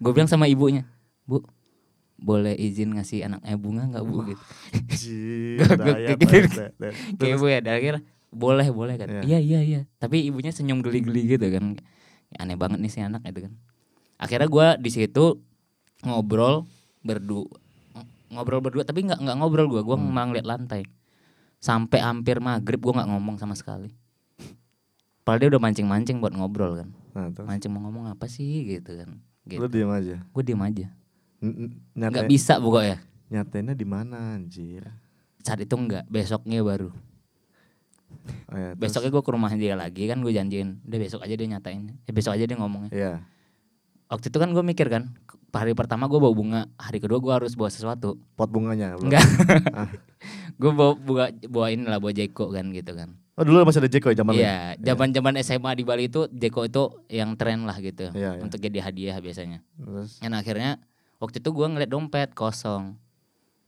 Speaker 2: gue bilang sama ibunya bu boleh izin ngasih anaknya bunga nggak bu gitu
Speaker 1: Ji,
Speaker 2: *laughs* Gua- gua
Speaker 1: dayat,
Speaker 2: pikirin.
Speaker 1: dayat, dayat.
Speaker 2: Kayak ibu ya, dan akhirnya boleh boleh kan.
Speaker 1: Iya.
Speaker 2: Iya iya iya. Tapi ibunya senyum geli-geli gitu kan. Aneh banget nih si anak gitu kan. Akhirnya gua di situ ngobrol berdua ngobrol berdua tapi nggak nggak ngobrol gua gua
Speaker 1: Hmm.
Speaker 2: malah ngeliat lantai sampai hampir maghrib gua nggak ngomong sama sekali padahal dia udah mancing-mancing buat ngobrol kan
Speaker 1: Nah, terus
Speaker 2: mancing mau ngomong apa sih gitu kan gitu.
Speaker 1: lu diem aja.
Speaker 2: gue diem aja
Speaker 1: N- n-
Speaker 2: nggak
Speaker 1: Nyatain,
Speaker 2: bisa pokoknya
Speaker 1: nyatainnya di mana anjir?
Speaker 2: saat itu enggak besoknya baru
Speaker 1: Oh, ya, terus-
Speaker 2: besoknya gue ke rumah dia lagi kan gue janjiin udah besok aja dia nyatain eh, besok aja dia ngomongnya
Speaker 1: Iya.
Speaker 2: waktu itu kan gue mikir kan ke- hari pertama gue bawa bunga hari kedua gue harus bawa sesuatu
Speaker 1: Pot bunganya. belum?
Speaker 2: enggak *laughs*
Speaker 1: Ah.
Speaker 2: gue bawa bawa bawain lah bawa jeko kan gitu kan
Speaker 1: Oh dulu masih ada Jeko ya zaman lu ya?
Speaker 2: Iya, zaman zaman SMA di Bali itu Jeko itu yang tren lah gitu
Speaker 1: Iya, iya.
Speaker 2: untuk jadi hadiah biasanya.
Speaker 1: Terus
Speaker 2: Dan akhirnya waktu itu gua ngeliat dompet kosong,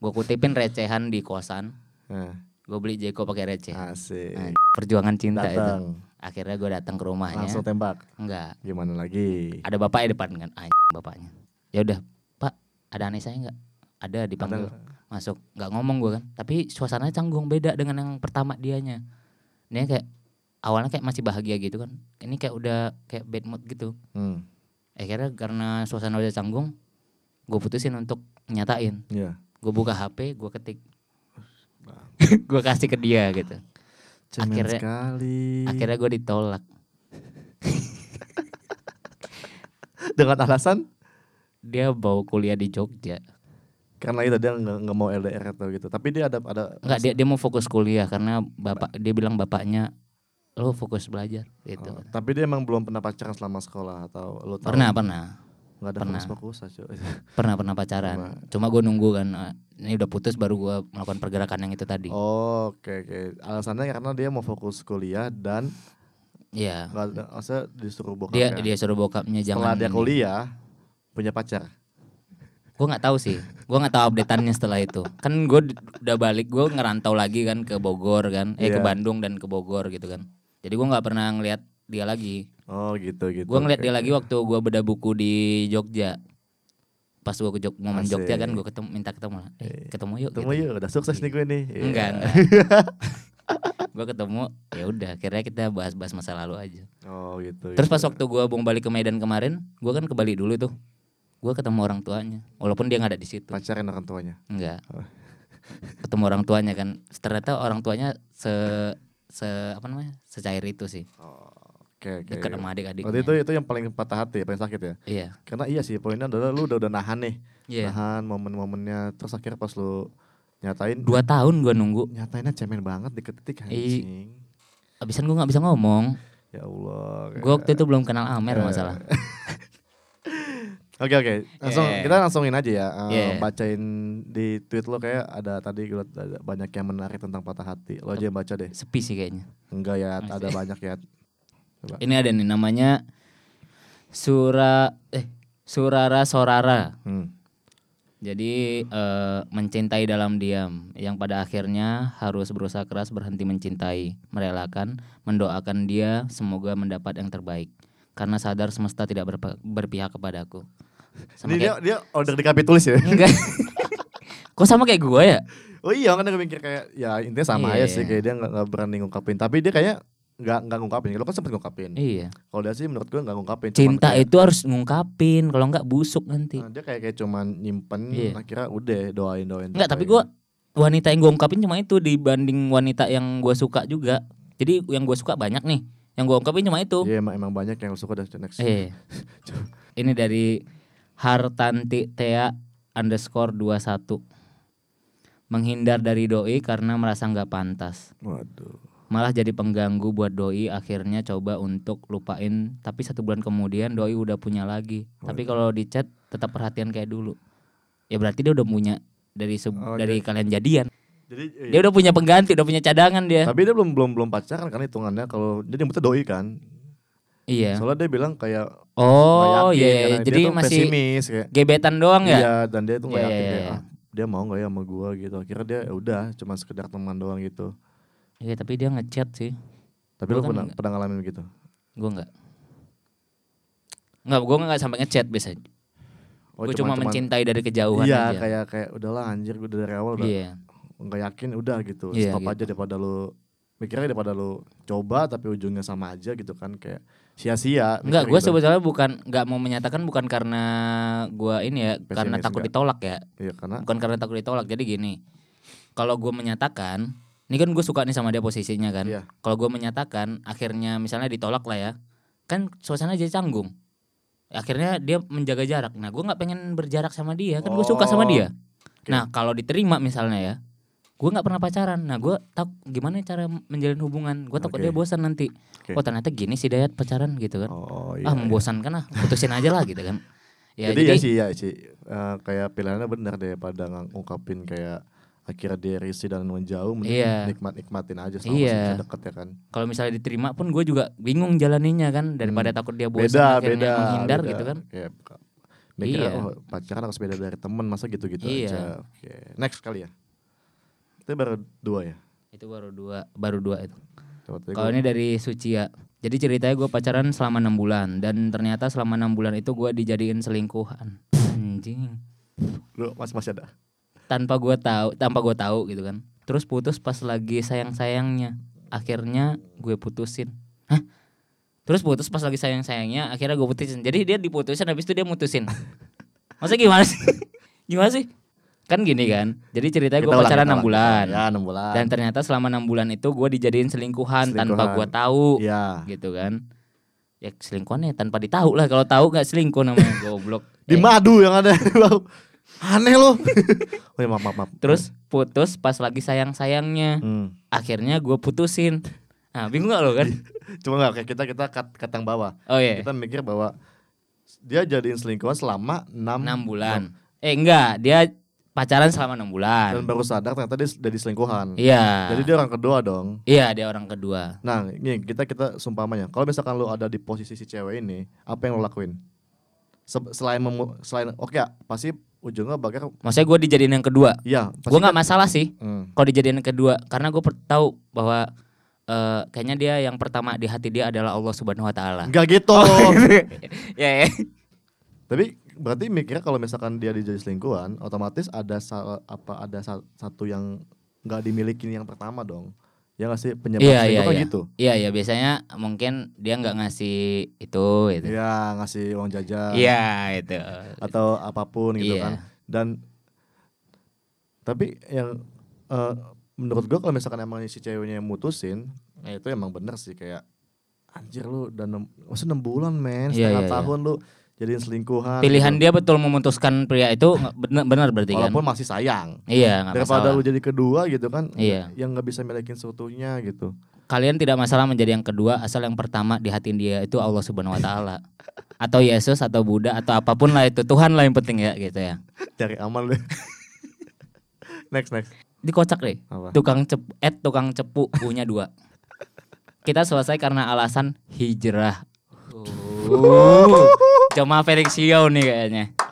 Speaker 2: gua kutipin recehan di kosan,
Speaker 1: nah,
Speaker 2: gue beli Jeko pakai recehan.
Speaker 1: asik.
Speaker 2: Nah, perjuangan cinta itu.
Speaker 1: Datang
Speaker 2: Akhirnya gua datang ke rumahnya.
Speaker 1: langsung tembak.
Speaker 2: Enggak,
Speaker 1: Gimana lagi?
Speaker 2: ada bapaknya depan kan, anjing bapaknya. Ya udah, Pak, ada aneh saya nggak? Ada dipanggil
Speaker 1: Ada
Speaker 2: masuk, nggak ngomong gua kan. Tapi suasananya canggung beda dengan yang pertama dianya. Dia kayak awalnya kayak masih bahagia gitu kan. Ini kayak udah kayak bad mood gitu.
Speaker 1: Hmm.
Speaker 2: Akhirnya karena suasana udah canggung, gue putusin untuk nyatain.
Speaker 1: Iya.
Speaker 2: Gue buka HP, gue ketik, *laughs* gue kasih ke dia gitu.
Speaker 1: Cemen
Speaker 2: Akhirnya-
Speaker 1: sekali.
Speaker 2: Akhirnya gue ditolak
Speaker 1: Dengan alasan
Speaker 2: dia bawa kuliah di Jogja.
Speaker 1: karena itu dia nggak nggak mau LDR atau gitu. Tapi dia ada ada
Speaker 2: Enggak dia dia mau fokus
Speaker 1: Hmm.
Speaker 2: kuliah karena bapak dia bilang bapaknya lo fokus belajar gitu.
Speaker 1: Oh, tapi dia emang belum pernah pacaran selama sekolah atau lu tahu?
Speaker 2: Pernah pernah
Speaker 1: Nggak ada
Speaker 2: pernah.
Speaker 1: fokus fokus aja.
Speaker 2: pernah pernah pacaran. Cuma gue nunggu kan eh, ini udah putus baru gue melakukan pergerakan yang itu tadi.
Speaker 1: Oh, oke oke. Alasannya karena dia mau fokus kuliah dan
Speaker 2: Iya.
Speaker 1: nggak ada maksudnya disuruh bokap ya.
Speaker 2: Dia dia suruh bokapnya
Speaker 1: Setelah dia
Speaker 2: jangan.
Speaker 1: kuliah punya pacar.
Speaker 2: Gue nggak tahu sih. Gue nggak tahu updateannya setelah itu. Kan gue udah balik gue ngerantau lagi kan ke Bogor kan, eh
Speaker 1: Iya.
Speaker 2: ke Bandung dan ke Bogor gitu kan. Jadi gue nggak pernah ngelihat dia lagi.
Speaker 1: Oh, gitu gitu.
Speaker 2: Gue
Speaker 1: Oke.
Speaker 2: ngeliat dia lagi waktu gue beda buku di Jogja. Pas gue ke Jog momen
Speaker 1: Asik.
Speaker 2: Jogja kan gue ketemu minta ketemu lah. Eh, ketemu yuk.
Speaker 1: Tunggu
Speaker 2: gitu.
Speaker 1: yuk, udah sukses nih gue nih. Iya.
Speaker 2: Enggak.
Speaker 1: *laughs*
Speaker 2: gue ketemu ya udah akhirnya kita bahas-bahas masa lalu aja.
Speaker 1: Oh, gitu. gitu.
Speaker 2: Terus pas waktu gue mau balik ke Medan kemarin, gue kan ke Bali dulu tuh. Gue ketemu orang tuanya, walaupun dia nggak ada di situ.
Speaker 1: pacaran orang tuanya.
Speaker 2: Enggak.
Speaker 1: Oh.
Speaker 2: Ketemu orang tuanya kan. Ternyata orang tuanya se se apa namanya? secair itu sih.
Speaker 1: Oke, oke.
Speaker 2: Dekat sama
Speaker 1: Berarti
Speaker 2: adik-adiknya.
Speaker 1: Iya. itu itu yang paling patah hati, ya, paling sakit ya.
Speaker 2: Iya.
Speaker 1: Karena iya sih poinnya adalah lu udah udah nahan nih.
Speaker 2: Iya.
Speaker 1: Nahan momen-momennya terus akhirnya pas lu nyatain
Speaker 2: Dua tahun gua nunggu.
Speaker 1: nyatainnya cemen banget diketik
Speaker 2: Ih.
Speaker 1: anjing.
Speaker 2: Abisan gua nggak bisa ngomong.
Speaker 1: Ya Allah.
Speaker 2: Gua waktu itu belum kenal Amer
Speaker 1: Iya.
Speaker 2: masalah.
Speaker 1: Oke oke, langsung
Speaker 2: Yeah.
Speaker 1: kita langsungin aja ya. Eh,
Speaker 2: Yeah.
Speaker 1: Bacain di tweet lo kayak ada tadi gua liat ada banyak yang menarik tentang patah hati. Lo aja yang baca deh.
Speaker 2: Sepi sih kayaknya.
Speaker 1: Enggak ya,
Speaker 2: Masih.
Speaker 1: ada banyak ya. Coba.
Speaker 2: Ini ada nih namanya Sura eh Surara Sorara.
Speaker 1: Hmm.
Speaker 2: Jadi eh, mencintai dalam diam, yang pada akhirnya harus berusaha keras berhenti mencintai, merelakan, mendoakan dia semoga mendapat yang terbaik. Karena sadar semesta tidak berpa- berpihak kepadaku.
Speaker 1: Ini
Speaker 2: Sama
Speaker 1: dia
Speaker 2: kayak,
Speaker 1: dia order di KP tulis ya.
Speaker 2: *laughs*
Speaker 1: *laughs*
Speaker 2: enggak. Kok sama kayak gua ya?
Speaker 1: Oh iya kan gue mikir kayak ya intinya sama aja
Speaker 2: Iya,
Speaker 1: sih
Speaker 2: iya.
Speaker 1: kayak dia nggak nggak berani ngungkapin tapi dia kayak nggak nggak ngungkapin lo kan sempet ngungkapin
Speaker 2: Iya.
Speaker 1: kalau dia sih menurut gue nggak ngungkapin cuman
Speaker 2: Cinta
Speaker 1: kayak-
Speaker 2: itu harus ngungkapin, kalau enggak busuk nanti.
Speaker 1: Nah, dia kayak kayak cuman nyimpen
Speaker 2: Iya.
Speaker 1: akhirnya udah doain doain
Speaker 2: Enggak, tapi
Speaker 1: doain.
Speaker 2: gua wanita yang gua ungkapin cuma itu dibanding wanita yang gua suka juga. Jadi yang gua suka banyak nih. Yang gua ungkapin cuma itu.
Speaker 1: Iya emang, emang banyak yang suka dan next
Speaker 2: Eh. Ini dari Hartanti Tea underscore 21 Menghindar dari doi karena merasa nggak pantas
Speaker 1: waduh
Speaker 2: Malah jadi pengganggu buat doi akhirnya coba untuk lupain Tapi satu bulan kemudian doi udah punya lagi Tapi kalau di chat tetap perhatian kayak dulu Ya berarti dia udah punya dari se-
Speaker 1: Oh,
Speaker 2: dari kalian jadian
Speaker 1: jadi iya.
Speaker 2: Dia udah punya pengganti, Ya udah punya cadangan dia
Speaker 1: tapi dia belum belum belum pacaran kan hitungannya kalau dia nyebutnya doi kan
Speaker 2: Iya
Speaker 1: soalnya dia bilang kayak nggak
Speaker 2: Oh
Speaker 1: yakin,
Speaker 2: iya, iya.
Speaker 1: karena
Speaker 2: jadi
Speaker 1: dia tuh
Speaker 2: masih
Speaker 1: pesimis kayak
Speaker 2: gebetan doang ya
Speaker 1: iya dan dia tuh nggak
Speaker 2: Iya,
Speaker 1: yakin
Speaker 2: iya,
Speaker 1: kayak,
Speaker 2: iya.
Speaker 1: "Ah, dia mau nggak ya sama gua gitu akhirnya dia ya udah cuma sekedar teman doang gitu
Speaker 2: Iya tapi dia ngechat sih
Speaker 1: tapi
Speaker 2: Gua
Speaker 1: lu
Speaker 2: kan
Speaker 1: pernah
Speaker 2: nggak.
Speaker 1: pernah ngalamin gitu
Speaker 2: Gue enggak Enggak, gue enggak sampai ngechat biasa
Speaker 1: Oh,
Speaker 2: Gue cuma mencintai dari kejauhan
Speaker 1: Iya
Speaker 2: aja
Speaker 1: kayak kayak udahlah anjir gue dari awal udah
Speaker 2: Iya
Speaker 1: nggak yakin udah gitu
Speaker 2: Iya,
Speaker 1: stop
Speaker 2: gitu.
Speaker 1: aja daripada lu mikirnya daripada lu coba tapi ujungnya sama aja gitu kan kayak sia-sia
Speaker 2: Enggak,
Speaker 1: mikir
Speaker 2: gue
Speaker 1: gitu.
Speaker 2: sebetulnya bukan Enggak mau menyatakan bukan karena Gue ini ya Karena
Speaker 1: Pesimis,
Speaker 2: takut
Speaker 1: enggak.
Speaker 2: ditolak ya
Speaker 1: Iya karena
Speaker 2: Bukan karena takut ditolak Jadi gini Kalau gue menyatakan Ini kan gue suka nih sama dia posisinya kan
Speaker 1: Iya.
Speaker 2: Kalau gue menyatakan Akhirnya misalnya ditolak lah ya Kan suasana jadi canggung Akhirnya dia menjaga jarak Nah gue nggak pengen berjarak sama dia Kan gue suka
Speaker 1: Oh,
Speaker 2: sama dia
Speaker 1: oke.
Speaker 2: Nah kalau diterima misalnya ya gue nggak pernah pacaran nah gue tak gimana cara menjalin hubungan gue takut
Speaker 1: Oke.
Speaker 2: dia bosan nanti
Speaker 1: Oke.
Speaker 2: oh ternyata gini sih Dayat pacaran gitu kan
Speaker 1: Oh iya.
Speaker 2: ah
Speaker 1: iya.
Speaker 2: membosankan ah putusin aja lah gitu
Speaker 1: *laughs*
Speaker 2: kan ya
Speaker 1: jadi,
Speaker 2: jadi,
Speaker 1: ya sih ya sih Eh, kayak pilihannya benar deh pada ngungkapin kayak akhirnya dia risih dan menjauh mending
Speaker 2: Iya.
Speaker 1: nikmat nikmatin aja sama
Speaker 2: Iya.
Speaker 1: masih bisa deket ya kan
Speaker 2: kalau misalnya diterima pun gue juga bingung jalaninya kan daripada
Speaker 1: Hmm.
Speaker 2: takut dia bosan
Speaker 1: beda
Speaker 2: akhirnya
Speaker 1: beda
Speaker 2: menghindar
Speaker 1: beda.
Speaker 2: gitu kan
Speaker 1: Iya, buka- mikirnya,
Speaker 2: Iya.
Speaker 1: oh, pacaran harus beda dari teman masa gitu gitu
Speaker 2: Iya.
Speaker 1: aja Oke, next kali ya itu baru dua ya
Speaker 2: itu baru dua baru dua itu
Speaker 1: Coba tadi
Speaker 2: kalau
Speaker 1: gua-
Speaker 2: ini dari Sucia jadi ceritanya gue pacaran selama enam bulan dan ternyata selama enam bulan itu gue dijadiin selingkuhan anjing
Speaker 1: lu masih masih ada
Speaker 2: tanpa gue tahu tanpa gue tahu gitu kan terus putus pas lagi sayang sayangnya akhirnya gue putusin Hah? terus putus pas lagi sayang sayangnya akhirnya gue putusin jadi dia diputusin habis itu dia
Speaker 1: *laughs*
Speaker 2: mutusin masa gimana sih *laughs* gimana sih kan gini kan jadi ceritanya gue
Speaker 1: Kita ulang,
Speaker 2: pacaran
Speaker 1: kita
Speaker 2: enam
Speaker 1: ulang.
Speaker 2: bulan
Speaker 1: ya enam bulan
Speaker 2: dan ternyata selama enam bulan itu gue dijadiin selingkuhan, tanpa
Speaker 1: Selingkuhan.
Speaker 2: gue tahu
Speaker 1: ya
Speaker 2: gitu kan ya selingkuhannya tanpa ditahu lah kalau tahu gak
Speaker 1: *laughs*
Speaker 2: selingkuh namanya goblok
Speaker 1: di
Speaker 2: Eh,
Speaker 1: madu yang ada *laughs* Bau. aneh lo *laughs* oh ya, maaf maaf, maaf.
Speaker 2: terus putus pas lagi sayang sayangnya
Speaker 1: Hmm.
Speaker 2: akhirnya gue putusin nah bingung gak lo
Speaker 1: *laughs*
Speaker 2: kan
Speaker 1: cuma nggak kayak kita kita kat, kat yang bawah
Speaker 2: oh iya
Speaker 1: kita mikir bahwa dia jadiin selingkuhan selama 6
Speaker 2: enam bulan eh enggak dia pacaran selama enam bulan
Speaker 1: dan baru sadar ternyata dia jadi selingkuhan
Speaker 2: iya
Speaker 1: jadi dia orang kedua dong
Speaker 2: iya dia orang kedua
Speaker 1: nah ini kita kita sumpamanya kalau misalkan lu ada di posisi si cewek ini apa yang lu lakuin Se- selain memu- selain oke ya, pasti ujungnya bakal
Speaker 2: maksudnya gue dijadiin yang kedua
Speaker 1: ya pasti
Speaker 2: gue nggak masalah sih
Speaker 1: Hmm,
Speaker 2: kalau dijadiin yang kedua karena gue tahu bahwa eh, kayaknya dia yang pertama di hati dia adalah Allah Subhanahu Wa
Speaker 1: *laughs*
Speaker 2: Taala
Speaker 1: nggak gitu
Speaker 2: Oh, iya.
Speaker 1: Iya,
Speaker 2: ya ya.
Speaker 1: tapi berarti mikirnya kalau misalkan dia dijadi selingkuhan otomatis ada sa- apa ada sa- satu yang nggak dimiliki yang pertama dong ya nggak sih penyebab
Speaker 2: Iya, iya,
Speaker 1: selingkuh kan
Speaker 2: iya.
Speaker 1: gitu
Speaker 2: iya ya biasanya mungkin dia nggak ngasih itu itu
Speaker 1: Iya ngasih uang jajan
Speaker 2: iya itu
Speaker 1: atau apapun gitu
Speaker 2: Iya.
Speaker 1: kan dan tapi yang eh, menurut gua kalau misalkan emang si ceweknya yang mutusin ya itu emang bener sih kayak anjir lu udah enam maksud enam bulan men
Speaker 2: Iya,
Speaker 1: setengah
Speaker 2: iya, iya.
Speaker 1: tahun lu jadiin selingkuhan
Speaker 2: pilihan
Speaker 1: gitu.
Speaker 2: dia betul memutuskan pria itu nggak- benar benar berarti kan
Speaker 1: walaupun masih sayang
Speaker 2: Iya, nggak
Speaker 1: daripada
Speaker 2: masalah.
Speaker 1: lu jadi kedua gitu kan
Speaker 2: Iya.
Speaker 1: yang nggak bisa milikin seutuhnya gitu
Speaker 2: Kalian tidak masalah menjadi yang kedua asal yang pertama di hati dia itu Allah Subhanahu wa taala. atau Yesus atau Buddha atau apapun lah itu Tuhan lah yang penting ya gitu ya.
Speaker 1: cari aman deh *laughs* next next
Speaker 2: Dikocak deh.
Speaker 1: apa
Speaker 2: Tukang cep eh tukang cepu punya dua. Kita selesai karena alasan hijrah. Oh. Cuma Felix Yeo nih kayaknya.
Speaker 1: Gila.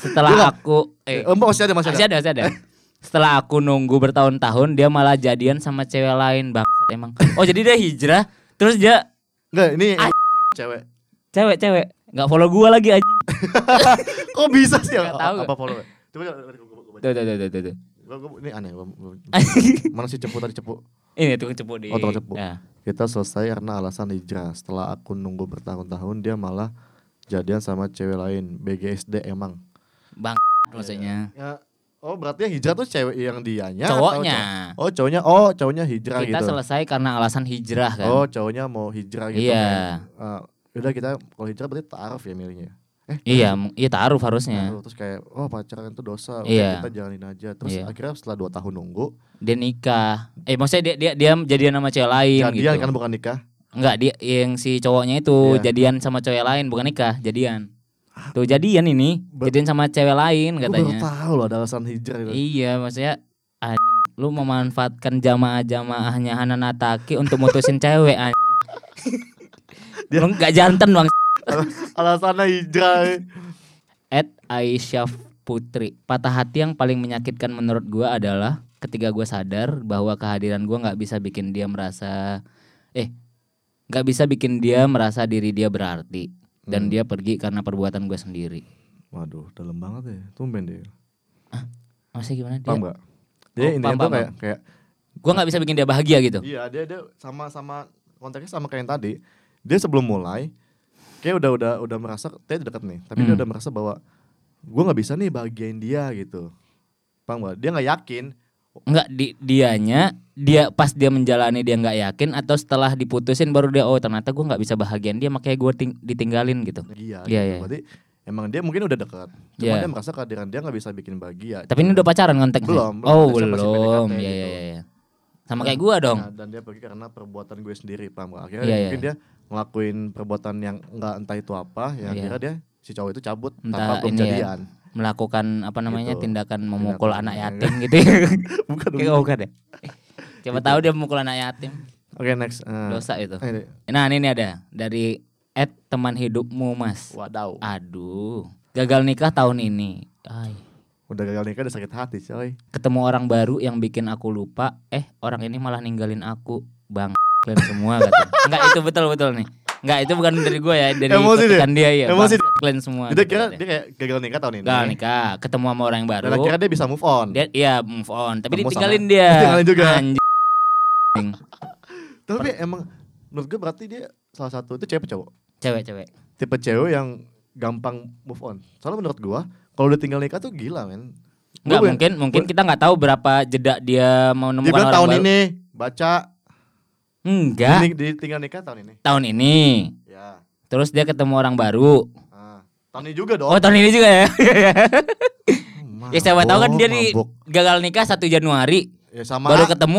Speaker 2: Setelah aku eh
Speaker 1: Eh, masih ada masih ada
Speaker 2: masih ada masih ada. Setelah aku nunggu bertahun-tahun dia malah jadian sama cewek lain bangsat emang. Oh jadi dia hijrah terus dia
Speaker 1: Enggak, ini
Speaker 2: Ah.
Speaker 1: cewek
Speaker 2: cewek cewek nggak follow gua lagi anjing
Speaker 1: Kok bisa sih?
Speaker 2: Nggak tahu
Speaker 1: apa
Speaker 2: gua.
Speaker 1: follow? Coba coba coba, coba, coba.
Speaker 2: tuh tuh tuh tuh, tuh, tuh.
Speaker 1: Gua- gua- ini aneh. gua- gua-
Speaker 2: *laughs*
Speaker 1: Mana sih cepu tadi cepu?
Speaker 2: ini tukang cepu di
Speaker 1: Oh, tukang cepu.
Speaker 2: Nah,
Speaker 1: Kita selesai karena alasan hijrah. Setelah aku nunggu bertahun-tahun dia malah jadian sama cewek lain. BGSD emang.
Speaker 2: bang maksudnya
Speaker 1: Ya, oh berarti yang hijrah tuh cewek yang dianya? atau
Speaker 2: cowoknya
Speaker 1: cowok? Oh cowoknya, oh cowoknya hijrah
Speaker 2: kita
Speaker 1: gitu.
Speaker 2: selesai karena alasan hijrah kan
Speaker 1: Oh cowoknya mau hijrah gitu.
Speaker 2: Iya.
Speaker 1: kan. Eh, udah kita kalau hijrah berarti taaruf ya milihnya.
Speaker 2: iya m- iya taruh harusnya
Speaker 1: Taaruf, Terus kayak oh pacaran itu dosa, Oke,
Speaker 2: Iya.
Speaker 1: kita jalanin aja. Terus
Speaker 2: Iya.
Speaker 1: akhirnya setelah dua tahun nunggu,
Speaker 2: dia nikah eh maksudnya dia dia dia jadian sama cewek lain
Speaker 1: jadian
Speaker 2: gitu
Speaker 1: kan bukan nikah.
Speaker 2: nggak dia yang si cowoknya itu
Speaker 1: Iya.
Speaker 2: jadian sama cewek lain bukan nikah jadian tuh jadian ini
Speaker 1: Ber-
Speaker 2: jadian sama cewek lain
Speaker 1: Gue baru
Speaker 2: Iya, katanya
Speaker 1: tahu loh ada alasan hijrah gitu. itu.
Speaker 2: Iya maksudnya anjing lu memanfaatkan jamaah-jamaahnya Hananataki untuk mutusin cewek anjing.
Speaker 1: *laughs* Dia-
Speaker 2: Lu gak jantan bang
Speaker 1: Alasannya hijrah.
Speaker 2: At Aisyah Putri Patah hati yang paling menyakitkan menurut gua adalah Ketika gua sadar bahwa kehadiran gua nggak bisa bikin dia merasa Eh nggak bisa bikin dia merasa diri dia berarti
Speaker 1: Hmm.
Speaker 2: Dan dia pergi karena perbuatan gua sendiri
Speaker 1: Waduh, dalam banget ya. Tumben deh.
Speaker 2: Maksudnya gimana dia?
Speaker 1: Paham nggak? Dia
Speaker 2: Oh,
Speaker 1: ini
Speaker 2: paham,
Speaker 1: tuh
Speaker 2: paham,
Speaker 1: kayak kayak
Speaker 2: Gua nggak bisa bikin dia bahagia gitu
Speaker 1: iya dia dia sama sama konteksnya sama kayak yang tadi. Dia sebelum mulai kayak udah udah udah merasa dia dekat nih, tapi dia
Speaker 2: Hmm.
Speaker 1: udah merasa bahwa gue nggak bisa nih bahagiain dia gitu. Paham gak? Dia nggak yakin.
Speaker 2: Enggak di dianya dia pas dia menjalani dia nggak yakin atau setelah diputusin baru dia oh ternyata gue nggak bisa bahagian dia makanya gue ting- ditinggalin gitu.
Speaker 1: Iya.
Speaker 2: Iya,
Speaker 1: gitu.
Speaker 2: iya.
Speaker 1: Berarti emang dia mungkin udah dekat cuma
Speaker 2: Iya.
Speaker 1: dia merasa kehadiran dia nggak bisa bikin bahagia gitu.
Speaker 2: Tapi ini udah pacaran kontak
Speaker 1: Belum, belum.
Speaker 2: Oh,
Speaker 1: Masih- masih
Speaker 2: belum.
Speaker 1: PDKT
Speaker 2: Iya,
Speaker 1: gitu.
Speaker 2: iya, iya. Sama kayak gua dong.
Speaker 1: Nah, dan dia pergi karena perbuatan gue sendiri paham gak? akhirnya
Speaker 2: Iya,
Speaker 1: mungkin
Speaker 2: iya.
Speaker 1: dia ngelakuin perbuatan yang nggak entah itu apa ya
Speaker 2: Iya.
Speaker 1: akhirnya dia si cowok itu cabut tanpa
Speaker 2: Entah
Speaker 1: belum
Speaker 2: ini ya.
Speaker 1: jadian
Speaker 2: Melakukan apa namanya
Speaker 1: Gitu.
Speaker 2: tindakan memukul
Speaker 1: Tindakan
Speaker 2: anak
Speaker 1: yang-
Speaker 2: yatim gitu. ya.
Speaker 1: *laughs* bukan Gitu.
Speaker 2: Kayak bukan deh. Coba tahu dia memukul anak yatim.
Speaker 1: oke next Eh,
Speaker 2: Dosa itu.
Speaker 1: ini.
Speaker 2: Nah, ini nih ada dari Ed teman hidupmu Mas.
Speaker 1: wadaw
Speaker 2: Aduh, gagal nikah tahun ini. Ay.
Speaker 1: udah gagal nikah udah sakit hati coy
Speaker 2: Ketemu orang baru yang bikin aku lupa. Eh, orang ini malah ninggalin aku. Bang, kalian semua kata. Enggak itu betul-betul nih. Enggak itu bukan dari gue ya, dari
Speaker 1: Emosi dia.
Speaker 2: ketikan dia ya.
Speaker 1: Emosi
Speaker 2: Bang, kalian semua.
Speaker 1: dia
Speaker 2: gitu
Speaker 1: kira
Speaker 2: katanya.
Speaker 1: dia kayak gagal nikah tahun ini
Speaker 2: Gagal nikah, ketemu sama orang yang baru.
Speaker 1: dan akhirnya dia bisa move on
Speaker 2: Dia iya move on, tapi
Speaker 1: Ketemu
Speaker 2: ditinggalin dia.
Speaker 1: Ditinggalin juga.
Speaker 2: Anjing.
Speaker 1: tapi emang menurut gue berarti dia salah satu itu cewek apa cowok
Speaker 2: Cewek-cewek.
Speaker 1: tipe cewek yang gampang move on soalnya menurut gue kalau udah tinggal nikah tuh gila men Gua
Speaker 2: Enggak
Speaker 1: punya-
Speaker 2: mungkin, mungkin kita nggak tahu berapa jeda dia mau
Speaker 1: dia
Speaker 2: nemukan
Speaker 1: bilang
Speaker 2: orang
Speaker 1: tahun
Speaker 2: baru.
Speaker 1: ini baca
Speaker 2: Enggak,
Speaker 1: Ini di tinggal nikah tahun ini
Speaker 2: tahun ini.
Speaker 1: ya
Speaker 2: Terus dia ketemu orang baru.
Speaker 1: ah. tahun ini juga dong
Speaker 2: Oh, tahun ini juga ya. *laughs*
Speaker 1: Mabok,
Speaker 2: ya siapa tahu kan dia di
Speaker 1: mabok.
Speaker 2: gagal nikah 1 Januari,
Speaker 1: ya sama
Speaker 2: baru ketemu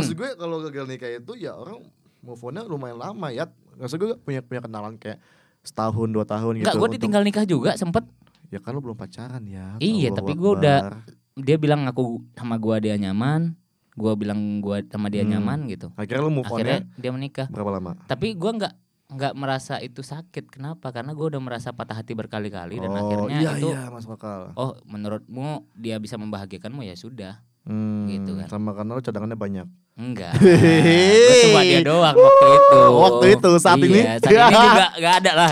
Speaker 1: Ya, maksud gue kalau gagal nikah itu ya orang move onnya lumayan lama ya maksud gue punya punya kenalan kayak setahun dua tahun gitu
Speaker 2: Enggak, gue
Speaker 1: Untung-
Speaker 2: ditinggal nikah juga sempet
Speaker 1: ya kan lu belum pacaran ya
Speaker 2: Iya,
Speaker 1: Allahu
Speaker 2: tapi gue udah-
Speaker 1: Akbar.
Speaker 2: dia bilang aku sama gua dia nyaman, gua bilang gua sama dia
Speaker 1: Hmm.
Speaker 2: nyaman gitu.
Speaker 1: akhirnya lu move ya.
Speaker 2: Akhirnya
Speaker 1: onnya
Speaker 2: dia menikah.
Speaker 1: berapa lama
Speaker 2: Tapi gua nggak nggak merasa itu sakit. Kenapa? Karena gua udah merasa patah hati berkali-kali dan
Speaker 1: oh
Speaker 2: akhirnya
Speaker 1: iya
Speaker 2: itu
Speaker 1: iya masuk akal
Speaker 2: oh menurutmu dia bisa membahagiakanmu ya sudah.
Speaker 1: Hmm,
Speaker 2: Gitu kan.
Speaker 1: sama karena lu cadangannya banyak
Speaker 2: Enggak. Gua cuma dia doang waktu itu.
Speaker 1: Waktu itu, saat ini?
Speaker 2: Iya, saat
Speaker 1: *laughs*
Speaker 2: ini juga enggak ada lah.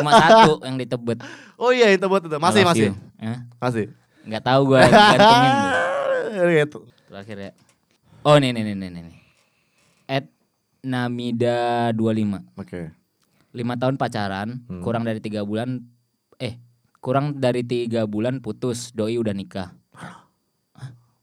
Speaker 2: Cuma satu yang ditebet.
Speaker 1: oh iya itu buat itu masih
Speaker 2: I love
Speaker 1: masih
Speaker 2: you. Hah?
Speaker 1: masih
Speaker 2: Enggak tahu gua
Speaker 1: *laughs*
Speaker 2: gantungin gua.
Speaker 1: gitu
Speaker 2: Terakhir ya. Oh, nih nih nih nih nih. At Namida 25.
Speaker 1: oke
Speaker 2: 5 tahun pacaran,
Speaker 1: Hmm.
Speaker 2: kurang dari 3 bulan eh kurang dari 3 bulan putus, doi udah nikah.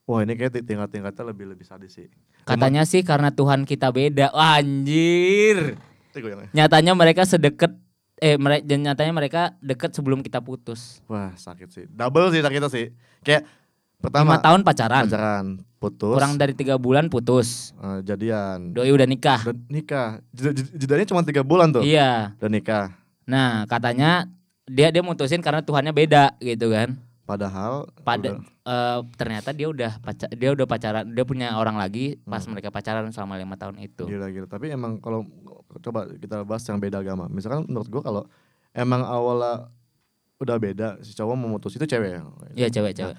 Speaker 1: wah ini kayak tingkat tingkatnya lebih lebih sadis sih
Speaker 2: Katanya sih karena Tuhan kita beda. Wah, anjir.
Speaker 1: Itu gue yang-
Speaker 2: Nyatanya mereka sedekat eh mere- dan nyatanya mereka deket sebelum kita putus.
Speaker 1: wah sakit sih double sih sakitnya sih kayak
Speaker 2: 5
Speaker 1: pertama
Speaker 2: tahun pacaran,
Speaker 1: pacaran putus
Speaker 2: kurang dari 3 bulan putus.
Speaker 1: eh, jadian
Speaker 2: Doi udah nikah.
Speaker 1: dan nikah Jeda- jeda- jedanya cuma tiga bulan tuh
Speaker 2: Iya.
Speaker 1: dan nikah
Speaker 2: Nah, katanya dia dia mutusin karena Tuhannya beda gitu kan.
Speaker 1: padahal udah-
Speaker 2: Pada eh, ternyata dia udah pacar dia udah pacaran, dia punya
Speaker 1: Hmm.
Speaker 2: orang lagi pas mereka pacaran selama lima tahun itu.
Speaker 1: gila gila tapi emang kalau coba kita bahas yang beda agama misalkan menurut gua kalau emang awalnya udah beda si cowok memutus itu cewek ya
Speaker 2: Iya, cewek-cewek.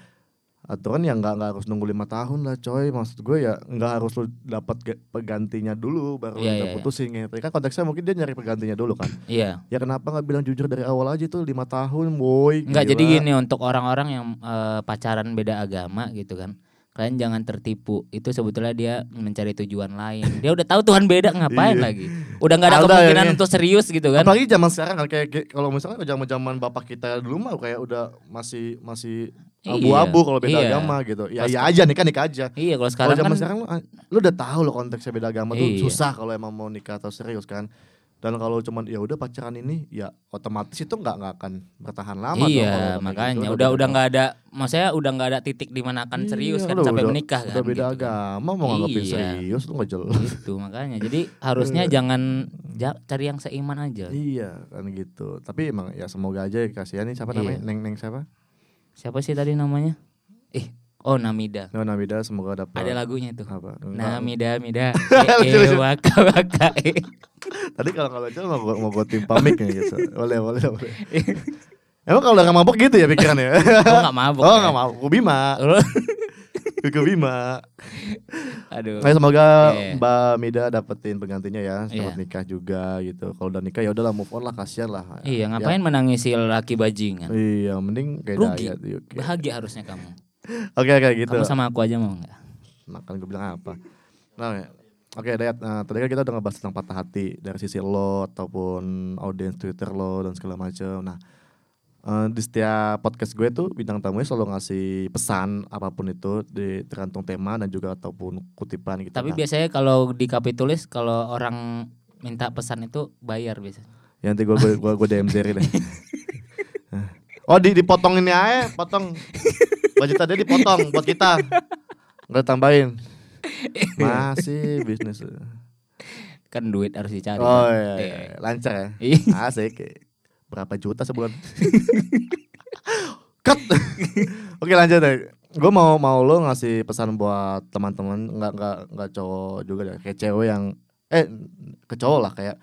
Speaker 1: aturan ya nggak nggak harus nunggu lima tahun lah coy maksud gue ya nggak harus lu dapat ge- pegantinya dulu baru
Speaker 2: Iya,
Speaker 1: kita
Speaker 2: iya, iya.
Speaker 1: putusin gitu kan konteksnya mungkin dia nyari pegantinya dulu kan
Speaker 2: Iya.
Speaker 1: ya kenapa nggak bilang jujur dari awal aja tuh lima tahun boy
Speaker 2: Enggak
Speaker 1: gila.
Speaker 2: jadi gini untuk orang-orang yang eh, pacaran beda agama gitu kan. Kalian jangan tertipu. Itu sebetulnya dia mencari tujuan lain. Dia udah tahu Tuhan beda
Speaker 1: Iya.
Speaker 2: ngapain lagi. Udah nggak ada
Speaker 1: Alda ya,
Speaker 2: kemungkinan
Speaker 1: ini.
Speaker 2: untuk serius gitu kan.
Speaker 1: Apalagi zaman sekarang kan kayak kayak kalau misalnya zaman zaman bapak kita dulu mah kayak udah masih masih
Speaker 2: Iya,
Speaker 1: abu-abu kalau beda
Speaker 2: iya.
Speaker 1: agama gitu. Ya
Speaker 2: Pas-
Speaker 1: iya aja nikah nikah aja.
Speaker 2: Iya, kalau
Speaker 1: Kalau
Speaker 2: sekarang
Speaker 1: zaman
Speaker 2: kan
Speaker 1: sekarang lu, ah, lu udah tahu lo konteksnya beda agama tuh
Speaker 2: Iya.
Speaker 1: susah kalau emang mau nikah atau serius kan. Dan kalau cuman ya udah pacaran ini ya otomatis itu nggak nggak akan bertahan lama. dong kalau
Speaker 2: Iya,
Speaker 1: kayak
Speaker 2: makanya
Speaker 1: gitu,
Speaker 2: udah udah
Speaker 1: beda-
Speaker 2: nggak ada maksudnya udah nggak ada titik di mana akan serius
Speaker 1: Iya,
Speaker 2: kan
Speaker 1: lu
Speaker 2: sampai
Speaker 1: udah-
Speaker 2: menikah kan.
Speaker 1: Udah beda
Speaker 2: gitu kan.
Speaker 1: agama mau nganggapin
Speaker 2: Iya.
Speaker 1: serius lu nggak jelas.
Speaker 2: Gitu makanya. Jadi harusnya jangan ja- cari yang seiman aja.
Speaker 1: Iya kan gitu. Tapi emang ya semoga aja kasihan nih siapa namanya
Speaker 2: Iya.
Speaker 1: neng neng siapa?
Speaker 2: Siapa sih tadi namanya? Eh, oh Namida.
Speaker 1: Nona Bida semoga dapat
Speaker 2: Ada lagunya itu.
Speaker 1: apa?
Speaker 2: Namida,
Speaker 1: *laughs*
Speaker 2: mida,
Speaker 1: Lucu,
Speaker 2: eh, eh,
Speaker 1: lucu.
Speaker 2: waka, waka, eh.
Speaker 1: Tadi kalau nggak baca mau gua, mau gua timpa mic ya
Speaker 2: *laughs*
Speaker 1: gitu. Boleh, boleh, boleh. Emang kalau udah nggak mabok gitu ya pikirannya? *laughs*
Speaker 2: Gua nggak mabok.
Speaker 1: oh
Speaker 2: ya.
Speaker 1: nggak mabok, Kuku
Speaker 2: *laughs*
Speaker 1: Bima,
Speaker 2: Lu-
Speaker 1: Kuku Bima.
Speaker 2: Aduh.
Speaker 1: Nah, semoga
Speaker 2: Iya.
Speaker 1: Mbak Mida dapetin penggantinya ya, dapat
Speaker 2: Iya.
Speaker 1: nikah juga gitu. Kalau udah nikah ya udahlah move on lah, kasihan lah.
Speaker 2: Iya, ngapain menangisi laki bajingan?
Speaker 1: Ya, iya, mending kayak
Speaker 2: Rugi.
Speaker 1: diet. yuk.
Speaker 2: Bahagia harusnya kamu.
Speaker 1: Oke, oke Iya. gitu.
Speaker 2: Kamu sama aku aja mau nggak?
Speaker 1: Makan gue bilang apa? Nah, ya. Oke, Dayat. Nah, tadi kan kita udah ngebahas tentang patah hati dari sisi lo ataupun audiens Twitter lo dan segala macam. Nah, eh, di setiap podcast gue tuh bintang tamunya selalu ngasih pesan apapun itu di tergantung tema dan juga ataupun kutipan gitu.
Speaker 2: Tapi
Speaker 1: Nah,
Speaker 2: biasanya kalau di kapi tulis kalau orang minta pesan itu bayar biasanya.
Speaker 1: ya nanti gue gue gue, gue DM Jerry deh. *laughs* Oh di dipotong ini aja, potong. Budget tadi dipotong buat kita. Enggak tambahin. Masih bisnis.
Speaker 2: kan duit harus dicari
Speaker 1: Oh iya,
Speaker 2: kan?
Speaker 1: iya. lancar ya.
Speaker 2: Iya.
Speaker 1: Asik. Berapa juta sebulan? *laughs* Cut. Oke lanjut ya. Gue mau mau lo ngasih pesan buat teman-teman nggak nggak nggak cowok juga deh kayak cewek yang eh ke cowok lah kayak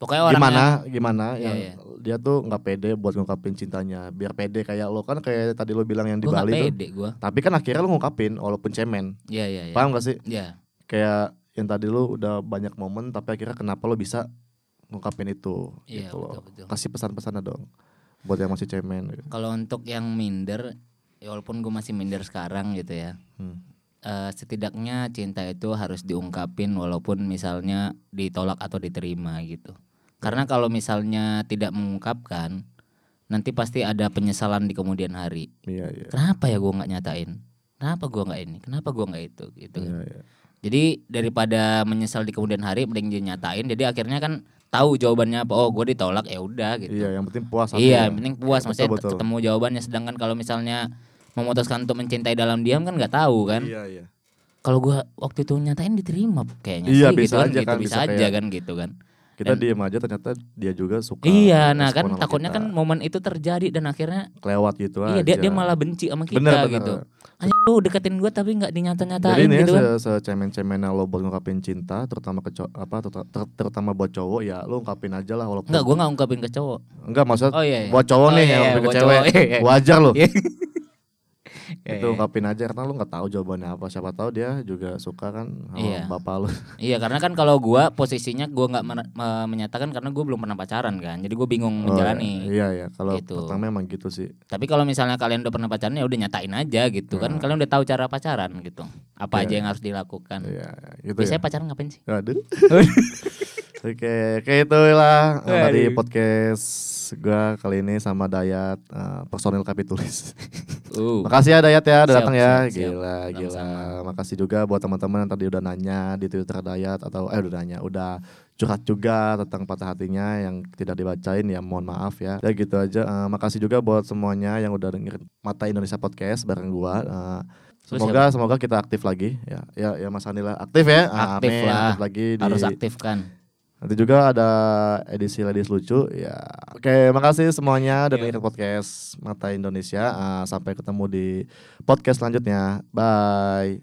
Speaker 2: pokoknya orang
Speaker 1: gimana gimana
Speaker 2: Iya,
Speaker 1: yang
Speaker 2: iya.
Speaker 1: dia tuh nggak pede buat ngungkapin cintanya biar pede kayak lo kan kayak tadi lo bilang yang di
Speaker 2: gue gak
Speaker 1: Bali tuh
Speaker 2: pede gue
Speaker 1: tapi kan akhirnya lo ngungkapin walaupun cemen
Speaker 2: ya ya ya
Speaker 1: paham gak sih
Speaker 2: ya
Speaker 1: kayak yang tadi lo udah banyak momen tapi akhirnya kenapa lo bisa ngungkapin itu
Speaker 2: Iya,
Speaker 1: gitu
Speaker 2: betul,
Speaker 1: loh
Speaker 2: betul.
Speaker 1: kasih pesan-pesan dong buat yang masih cemen gitu.
Speaker 2: Kalau untuk yang minder, ya walaupun gue masih minder sekarang gitu ya,
Speaker 1: Hmm.
Speaker 2: eh, setidaknya cinta itu harus diungkapin walaupun misalnya ditolak atau diterima gitu. Karena kalau misalnya tidak mengungkapkan, nanti pasti ada penyesalan di kemudian hari.
Speaker 1: iya iya
Speaker 2: Kenapa ya gue nggak nyatain? Kenapa gue nggak ini? Kenapa gue nggak itu? Gitu.
Speaker 1: iya iya
Speaker 2: Jadi daripada menyesal di kemudian hari, mending dinyatain. Jadi akhirnya kan tahu jawabannya apa. Oh gue ditolak ya udah gitu.
Speaker 1: Iya, yang penting puas hati
Speaker 2: Iya,
Speaker 1: ya.
Speaker 2: yang penting puas
Speaker 1: Betul,
Speaker 2: maksudnya
Speaker 1: betul.
Speaker 2: ketemu jawabannya sedangkan kalau misalnya memutuskan untuk mencintai dalam diam kan nggak tahu kan.
Speaker 1: iya iya
Speaker 2: Kalau gua waktu itu nyatain diterima kayaknya
Speaker 1: Iya,
Speaker 2: sih
Speaker 1: bisa
Speaker 2: gitu kan,
Speaker 1: aja
Speaker 2: gitu,
Speaker 1: kan,
Speaker 2: bisa,
Speaker 1: bisa
Speaker 2: aja
Speaker 1: kayak-
Speaker 2: kan gitu kan.
Speaker 1: kita
Speaker 2: Dan-
Speaker 1: diem aja ternyata dia juga suka
Speaker 2: iya, nah
Speaker 1: respon
Speaker 2: kan
Speaker 1: sama
Speaker 2: takutnya
Speaker 1: kita.
Speaker 2: kan momen itu terjadi dan akhirnya
Speaker 1: kelewat gitu
Speaker 2: iya dia
Speaker 1: aja.
Speaker 2: dia malah benci sama kita
Speaker 1: Bener, bener.
Speaker 2: gitu. Anjing lu deketin gua tapi nggak
Speaker 1: Jadi
Speaker 2: dinyata-nyatain
Speaker 1: ini ya,
Speaker 2: gitu kan.
Speaker 1: se cemen lo buat ngungkapin cinta, terutama ke cow- apa terut- ter- terutama buat cowok ya lo ungkapin aja lah walaupun
Speaker 2: Enggak, gua nggak ungkapin ke cowok.
Speaker 1: enggak maksud
Speaker 2: Oh iya. iya.
Speaker 1: buat cowok
Speaker 2: Oh,
Speaker 1: nih
Speaker 2: iya,
Speaker 1: yang
Speaker 2: iya,
Speaker 1: lebih ke
Speaker 2: buat
Speaker 1: cewek.
Speaker 2: cowok, iya, iya. *laughs*
Speaker 1: Wajar lo.
Speaker 2: Iya. Iya,
Speaker 1: Itu
Speaker 2: iya.
Speaker 1: ungkapin aja karena lo nggak tahu jawabannya apa. Siapa tahu dia juga suka kan sama
Speaker 2: Iya.
Speaker 1: bapak lo.
Speaker 2: Iya karena kan kalau gua posisinya gua nggak mer- me- menyatakan karena gua belum pernah pacaran kan jadi gua bingung menjalani.
Speaker 1: *laughs* iya iya, kalau
Speaker 2: Gitu.
Speaker 1: pertama emang gitu sih.
Speaker 2: Tapi kalau misalnya kalian udah pernah pacaran ya udah nyatain aja gitu kan
Speaker 1: Hmm.
Speaker 2: kalian udah tahu cara pacaran gitu apa aja yang harus dilakukan.
Speaker 1: Iya, gitu
Speaker 2: Hmm. Biasanya
Speaker 1: ya.
Speaker 2: pacaran ngapain sih? *laughs*
Speaker 1: Aduh. Oke, oke itulah eh, dari
Speaker 2: Waduh.
Speaker 1: podcast gua kali ini sama Dayat eh, personil kapitulis.
Speaker 2: Uh.
Speaker 1: Makasih ya Dayat ya udah
Speaker 2: Siap,
Speaker 1: datang ya.
Speaker 2: siap, siap.
Speaker 1: Gila, gila.
Speaker 2: Sama-sama.
Speaker 1: Makasih juga buat teman-teman yang tadi udah nanya di Twitter Dayat atau eh udah nanya, udah curhat juga tentang patah hatinya yang tidak dibacain ya mohon maaf ya. Ya gitu aja. Eh, makasih juga buat semuanya yang udah dengerin Mata Indonesia Podcast bareng gua. Eh,
Speaker 2: Terus
Speaker 1: Semoga semoga kita aktif lagi ya. Ya ya Mas Anila aktif ya. Ah,
Speaker 2: Aktif
Speaker 1: amin.
Speaker 2: lah.
Speaker 1: Aktif lagi di
Speaker 2: Harus kan? aktifkan.
Speaker 1: Nanti juga ada edisi Ladies Lucu ya. Oke, makasih semuanya dan dengerin podcast Mata Indonesia. Ah, sampai ketemu di podcast selanjutnya. Bye.